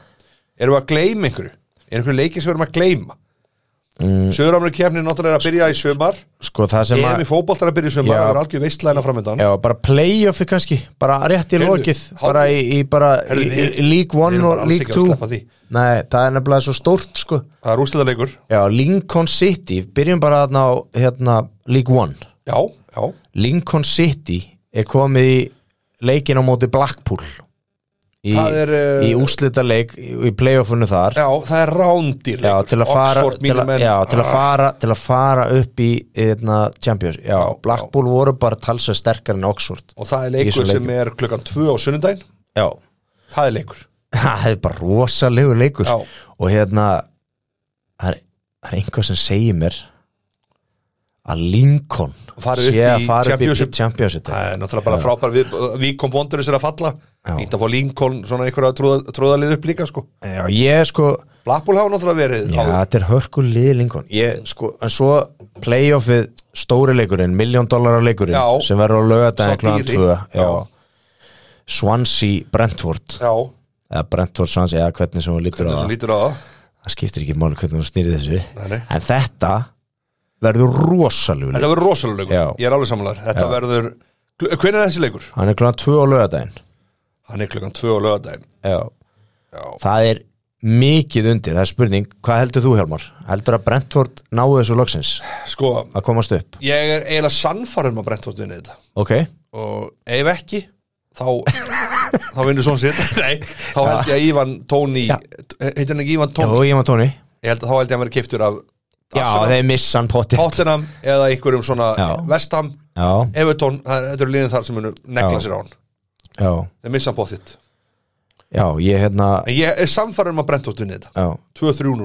Speaker 1: erum við að gleyma einhverju, er einhverju leiki sem við erum að gleyma mm. Söðuramri kefni náttúrulega er að byrja í sömar
Speaker 2: sko það sem
Speaker 1: EM í fótboltar að byrja í sömar,
Speaker 2: Já.
Speaker 1: það er algjör veistlæna framöndan
Speaker 2: Já, bara playoffi kannski, bara rétt í
Speaker 1: Heyrðu,
Speaker 2: lokið
Speaker 1: hálf-
Speaker 2: bara í, í bara
Speaker 1: Heyrðu,
Speaker 2: í,
Speaker 1: við-
Speaker 2: í League
Speaker 1: við
Speaker 2: 1
Speaker 1: erum bara
Speaker 2: og
Speaker 1: alls
Speaker 2: League
Speaker 1: ekki að
Speaker 2: 2
Speaker 1: sleppa því.
Speaker 2: Nei, það er nefnilega svo stórt sko
Speaker 1: það er úrslitaleikur,
Speaker 2: Já, Lincoln City, byrjum bara þarna á hérna, League 1
Speaker 1: já, já
Speaker 2: Lincoln City er komið í leikin á móti Blackpool í,
Speaker 1: Það er, eh,
Speaker 2: í úslita leik í, í playoffunnu þar
Speaker 1: já, það er rándýr
Speaker 2: Já, til að fara
Speaker 1: Oxford
Speaker 2: til
Speaker 1: mínum
Speaker 2: að,
Speaker 1: menn
Speaker 2: já, til að
Speaker 1: Ah,
Speaker 2: fara til að fara upp í hérna, Champions, já,
Speaker 1: Já,
Speaker 2: Blackpool voru bara talsað sterkar en Oxford
Speaker 1: og það er
Speaker 2: í þessum
Speaker 1: leikur sem
Speaker 2: leikjum.
Speaker 1: er klukkan 2 á sunnudaginn,
Speaker 2: Já
Speaker 1: það er leikur
Speaker 2: það er bara rosalegu leikur
Speaker 1: Já.
Speaker 2: og hérna það er, það er einhvað sem segir mér að Lincoln
Speaker 1: Og fari upp
Speaker 2: sé að
Speaker 1: í
Speaker 2: fara upp í
Speaker 1: Championship.
Speaker 2: Championship
Speaker 1: Það er náttúrulega bara frábær við, Víkom Bondurins er að falla
Speaker 2: Já.
Speaker 1: Ít að fá Lincoln svona einhverja trúða, trúðalið upp líka sko
Speaker 2: já, ég sko,
Speaker 1: Blackpool hafa náttúrulega verið
Speaker 2: já,
Speaker 1: áður.
Speaker 2: þetta er hörku lið Lincoln, ég sko, en svo playoffið stóri leikurinn, miljón dollara leikurinn,
Speaker 1: Já.
Speaker 2: sem verður á
Speaker 1: Sá
Speaker 2: laugardaginn
Speaker 1: dýri.
Speaker 2: kláðan 2 já.
Speaker 1: Já.
Speaker 2: Swansea Brentford
Speaker 1: já,
Speaker 2: eða Brentford Swansea, eða hvernig sem hún lítur á
Speaker 1: hvernig
Speaker 2: það
Speaker 1: þú lítur á það
Speaker 2: það skiptir ekki máli hvernig hún snýri þessu
Speaker 1: Nei, nei.
Speaker 2: en þetta verður rosalegu leikur
Speaker 1: Þetta verður rosalega leikur,
Speaker 2: Já.
Speaker 1: ég er alveg samanlegar Þetta verður, hvernig er þessi leikur?
Speaker 2: Hann er klokkan 2 á laugardaginn
Speaker 1: Hann er klukkan 2 á lögadaginn
Speaker 2: Já.
Speaker 1: Já,
Speaker 2: Það er mikið undir, það er spurning Hvað heldur þú Hjálmar? Heldur að Brentford náu þessu loksins
Speaker 1: sko,
Speaker 2: að komast upp?
Speaker 1: ég er eiginlega sannfærum að Brentford vinni þetta
Speaker 2: Ok,
Speaker 1: og ef ekki þá þá vinnur svona sér Nei, þá held ég að Ívan Tóni
Speaker 2: Já.
Speaker 1: heitir hann ekki Ívan
Speaker 2: Tóni.
Speaker 1: Tóni
Speaker 2: og ég var Tóni
Speaker 1: ég held að þá held ég að hann verið kiftur af
Speaker 2: Já,
Speaker 1: Arsenal,
Speaker 2: þeir missa hann potið
Speaker 1: Tottenham eða einhverjum svona
Speaker 2: Já.
Speaker 1: Vestham,
Speaker 2: Já,
Speaker 1: Everton það er- þetta eru liðin þar sem munu negla
Speaker 2: Já.
Speaker 1: sér á hann
Speaker 2: já,
Speaker 1: þeir missa hann bótt þitt
Speaker 2: já, ég hérna
Speaker 1: en ég er samfærum að Brentford vinni þetta
Speaker 2: já. 2-3-0
Speaker 1: 2-3-0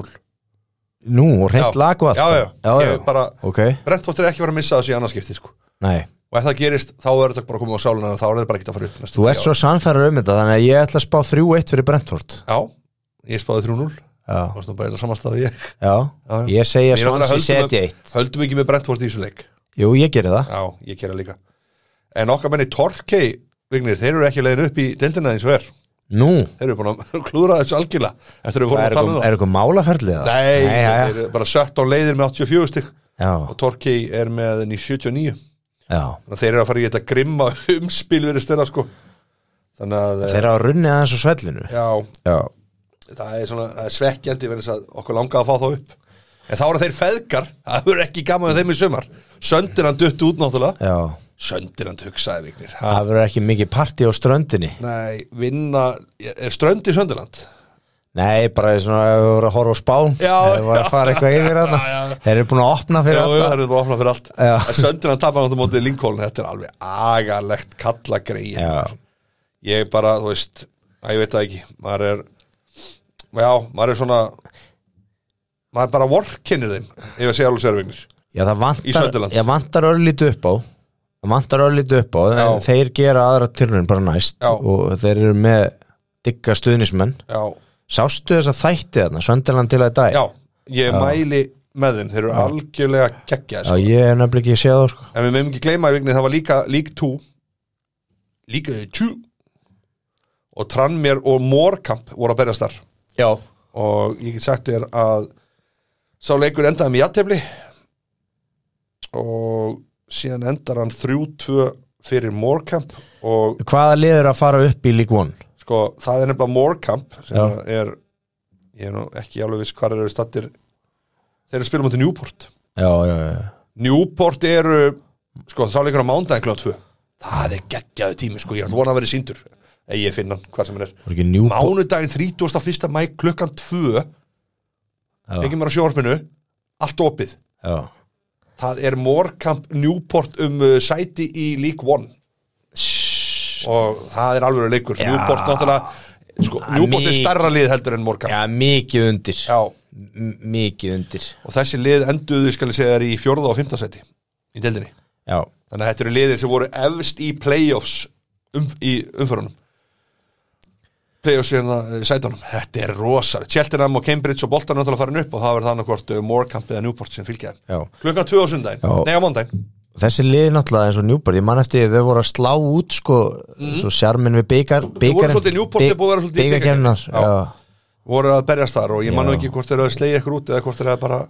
Speaker 2: Nú, og hreint
Speaker 1: Já.
Speaker 2: lag og allt
Speaker 1: Já, já,
Speaker 2: já,
Speaker 1: ég bara-
Speaker 2: Ok,
Speaker 1: Brentford er ekki verið að missa þessu í annarskipti sko.
Speaker 2: nei
Speaker 1: og ef það gerist þá er þetta bara komið á sálinu en þá er þetta bara ekki að fara upp næstu
Speaker 2: Þú
Speaker 1: tíu
Speaker 2: ert svo sannfærar um þetta þannig að ég ætla að spá 3-1 fyrir Brentford
Speaker 1: árin. Já, ég spáði 3-0
Speaker 2: já,
Speaker 1: Það var svona bara samastaði ég
Speaker 2: já,
Speaker 1: já.
Speaker 2: ég segja
Speaker 1: Við erum
Speaker 2: svona
Speaker 1: að
Speaker 2: sem
Speaker 1: höldum-
Speaker 2: setja eitt
Speaker 1: Höldum ekki með Brentford í þessu leik
Speaker 2: Jú, ég geri það
Speaker 1: Já, ég kera líka En okkar menni Torkei, Vignir, þeir eru ekki leiðin upp í deildina eins og er
Speaker 2: Nú,
Speaker 1: Þeir eru búin að klúðra þessu algjörlega Eftir við
Speaker 2: það
Speaker 1: vorum
Speaker 2: er
Speaker 1: að tala um
Speaker 2: eitthvað,
Speaker 1: það
Speaker 2: er eitthvað málaferlið það?
Speaker 1: Nei,
Speaker 2: já,
Speaker 1: þeir eru bara 17 leiðir með 84 stig
Speaker 2: já,
Speaker 1: og Torkei er með 79
Speaker 2: já
Speaker 1: Þannig að þeir eru að fara í þetta grimma umspil verið stöðna sko Þannig að
Speaker 2: Þeir hafa runnið aðeins á svellinu
Speaker 1: Já,
Speaker 2: Já,
Speaker 1: það er svona það er svekkjandi verið að okkur langaði að fá þá upp En þá eru þeir feðgar, það verður ekki gaman með þeim í sumar Söndir hann dutt út náttúrulega
Speaker 2: já
Speaker 1: Söndir hann hugsaði Vignir Ha,
Speaker 2: Það verður ekki mikið parti á ströndinni
Speaker 1: Nei, vinna Er strönd í Sönderland?
Speaker 2: Nei, bara svona ef þú voru að horfa á spán
Speaker 1: Já,
Speaker 2: ef þú voru að fara eitthvað yfir hana
Speaker 1: já, já.
Speaker 2: Þeir eru búin að opna fyrir
Speaker 1: Já, það
Speaker 2: alla
Speaker 1: er bara opnað fyrir allt
Speaker 2: Já.
Speaker 1: En Sönderland tapar hann á mótið Lincoln Þetta er alveg agalegt kalla greið
Speaker 2: Já,
Speaker 1: Ég bara, þú veist að ég veit það ekki Maður er Já, maður er svona Maður bara vorkinnir þeim Ef að segja alveg sérvignir
Speaker 2: já það
Speaker 1: Í
Speaker 2: vantar,
Speaker 1: Sunderland.
Speaker 2: já, vantar örlítið upp á Það vantar örlítið upp á
Speaker 1: Já.
Speaker 2: en Þeir gera aðra tilrun bara næst
Speaker 1: Já.
Speaker 2: og þeir eru með digga stuðnismenn
Speaker 1: Já,
Speaker 2: Sástu þess að þætti þarna, Söndaland til að dag
Speaker 1: já Ég mæli með þeim, þeir eru algjörlega kekkja
Speaker 2: Já,
Speaker 1: sko.
Speaker 2: ég er nefnilega ekki séð þá sko
Speaker 1: En við meðum ekki gleyma í vignið, það var líka lík 2 Líka 2 Og Tranmér og Morkamp voru að berjast þar
Speaker 2: Já
Speaker 1: Og ég get sagt þér að Sá leikur endaði með jattefli Og síðan endar hann 3-2 fyrir Morkamp Og
Speaker 2: Hvaða liður að fara upp í League One?
Speaker 1: sko, það er nefnilega Morecamp sem
Speaker 2: Já.
Speaker 1: er, ég er nú ekki alveg viss hvað eru stattir þeir eru að spila mútið Newport
Speaker 2: Já, já, já
Speaker 1: Newport eru, sko, þá leikur á mándaginn kláð 2, það er geggjaðu tími sko, ég ætla vona að vera síndur eða ég finn hann, hvað sem hann er
Speaker 2: Var ekki Newport
Speaker 1: mánudaginn 31. mæ klukkan 2
Speaker 2: já,
Speaker 1: ekki mér á sjórfinu, allt opið
Speaker 2: já.
Speaker 1: það er Morecamp Newport um uh, sæti í League One og það er alveg leikur,
Speaker 2: Já.
Speaker 1: Newport náttúrulega sko, Newport er
Speaker 2: mikið.
Speaker 1: starra lið heldur en Morecamp
Speaker 2: já mikið undir
Speaker 1: Já,
Speaker 2: M- Mikið undir
Speaker 1: og þessi lið enduðu, skal ég segja þær, í fjórða og fimmta seti í deildinni.
Speaker 2: Já,
Speaker 1: Þannig að þetta eru liðir sem voru efst í playoffs um, í umförunum. Playoffs hérna eh, sætunum. Þetta er rosalega. Cheltenham og Cambridge og Bolton er náttúrulega farin upp og það verður þannig hvort Morecamp eða Newport sem fylgja þeim.
Speaker 2: já
Speaker 1: Klukkan 2 á sundaginn,
Speaker 2: Já.
Speaker 1: nei á mondaginn.
Speaker 2: Þessi lið náttúrulega eins og Newport Ég man eftir þau voru að slá út sko Svo sjarmin við byggar Þau
Speaker 1: Mhm. svolítið- Newport er búið að vera svolítið í bikarkeppni. Já.
Speaker 2: Já
Speaker 1: Voru að berjast þar og ég mann
Speaker 2: Já.
Speaker 1: ekki hvort þeir eru að slegja ykkur út eða hvort þeir eru bara...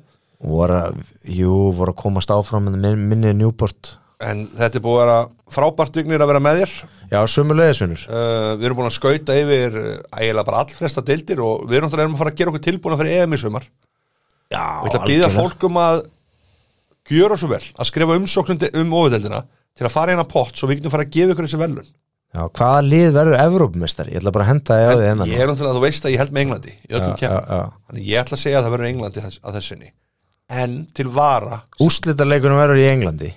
Speaker 2: voru að, jú, voru að komast áfram en minn- minni Newport
Speaker 1: En þetta er búið að vera frábært vignir að vera með þér.
Speaker 2: Já, sömulegis vinnur
Speaker 1: Uh, við erum búin að skauta yfir eh, ægilega bara allflesta deildir og við erum náttúrulega erum að fara að gera okkur tilbúna fyrir EM í sumar
Speaker 2: Já,
Speaker 1: Við ætla að býða fólk um að gjöra svo vel, að skrifa umsóknum de- um ofudeldina til að fara hérna pott svo við getum fara að gefa ykkur þessi velun
Speaker 2: Já, hvaða lið verður Evrópumestari? Ég ætla bara að henda ég á því hennan
Speaker 1: Ég er náttúrulega, þú veist að ég held með Englandi í öllum
Speaker 2: já,
Speaker 1: kemur,
Speaker 2: já.
Speaker 1: þannig ég ætla að segja að það verður Englandi þess, að þessunni en til vara,
Speaker 2: Úslitaleikunum verður í Englandi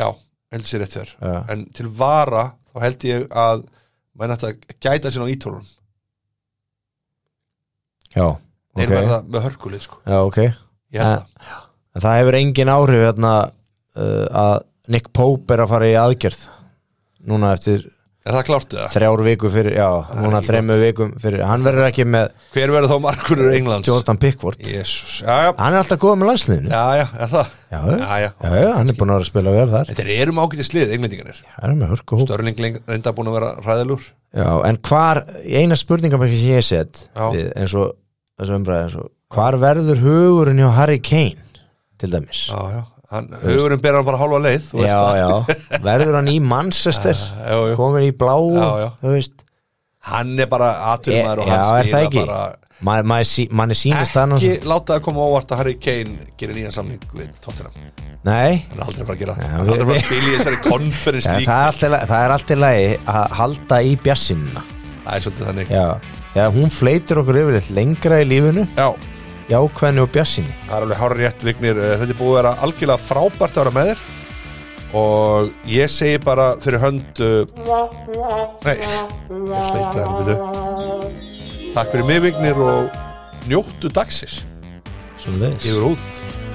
Speaker 1: já, heldur sér rétt fyrr
Speaker 2: Já.
Speaker 1: en til vara, þá held ég að maður nætti að gæta sér á ítólum
Speaker 2: Já,
Speaker 1: þeir
Speaker 2: ok
Speaker 1: verða með hörkulið, sko,
Speaker 2: Já, ok
Speaker 1: ég held
Speaker 2: En- En það hefur engin áhrif hérna uh, að Nick Pope er að fara í aðgerð Núna eftir
Speaker 1: það Er það klárt eða?
Speaker 2: þrjár viku fyrir Já,
Speaker 1: er
Speaker 2: núna
Speaker 1: ekki
Speaker 2: þremur vikum fyrir Hann verður ekki með
Speaker 1: Hver verður þá markurur Englands?
Speaker 2: Jordan Pickford
Speaker 1: Jésús, já,
Speaker 2: Hann er alltaf góð með landsliðinu
Speaker 1: já, já, er það
Speaker 2: Já,
Speaker 1: Já, já,
Speaker 2: já, já, hann er búin að vera að spila vel þar
Speaker 1: En Þeir eru með ágæti slið, englendingarnir
Speaker 2: Það er með hörku hóp
Speaker 1: Störling leng- reynda búin að vera ræðilur
Speaker 2: Já, en hvar, eina spurningamarki sem ég set
Speaker 1: Já.
Speaker 2: við, eins og, þessu umræði eins og hvar verður hugurinn hjá Harry Kane til dæmis?
Speaker 1: Já, já, hann, hugurinn ber hann bara hálfa leið þú veist
Speaker 2: já,
Speaker 1: það.
Speaker 2: já, verður hann í Manchester
Speaker 1: já, já.
Speaker 2: komin í blá
Speaker 1: Já, já.
Speaker 2: þú veist,
Speaker 1: Hann er bara atvömaður og
Speaker 2: E-
Speaker 1: hann
Speaker 2: já, er það ekki?
Speaker 1: bara
Speaker 2: ma- maður sí, manni sýnist það
Speaker 1: Ekki
Speaker 2: annars-
Speaker 1: láta það koma á óvart að Harry Kane gerir nýjan samning við Tottenham Hann
Speaker 2: Nei,
Speaker 1: er aldrei að fara að gera
Speaker 2: Já,
Speaker 1: það Hann er aldrei að
Speaker 2: við-
Speaker 1: fara að spila í þessari conference
Speaker 2: ja,
Speaker 1: lík
Speaker 2: það, er allt í lagi- það er allt í lagi að halda í bjassinna
Speaker 1: Það er svolítið þannig
Speaker 2: Já, þegar hún fleitir okkur yfirleitt lengra í lífinu
Speaker 1: Já,
Speaker 2: jákvæðinu og bjassinni
Speaker 1: það er alveg hár rétt vignir Eh, Þetta er búið að vera algjörlega frábært að vera með þér Og ég segi bara fyrir hönd uh, Nei, ég ætla að hitta það Takk fyrir mig vignir og njóttu dagsins
Speaker 2: Svo leiðis
Speaker 1: Yfir og út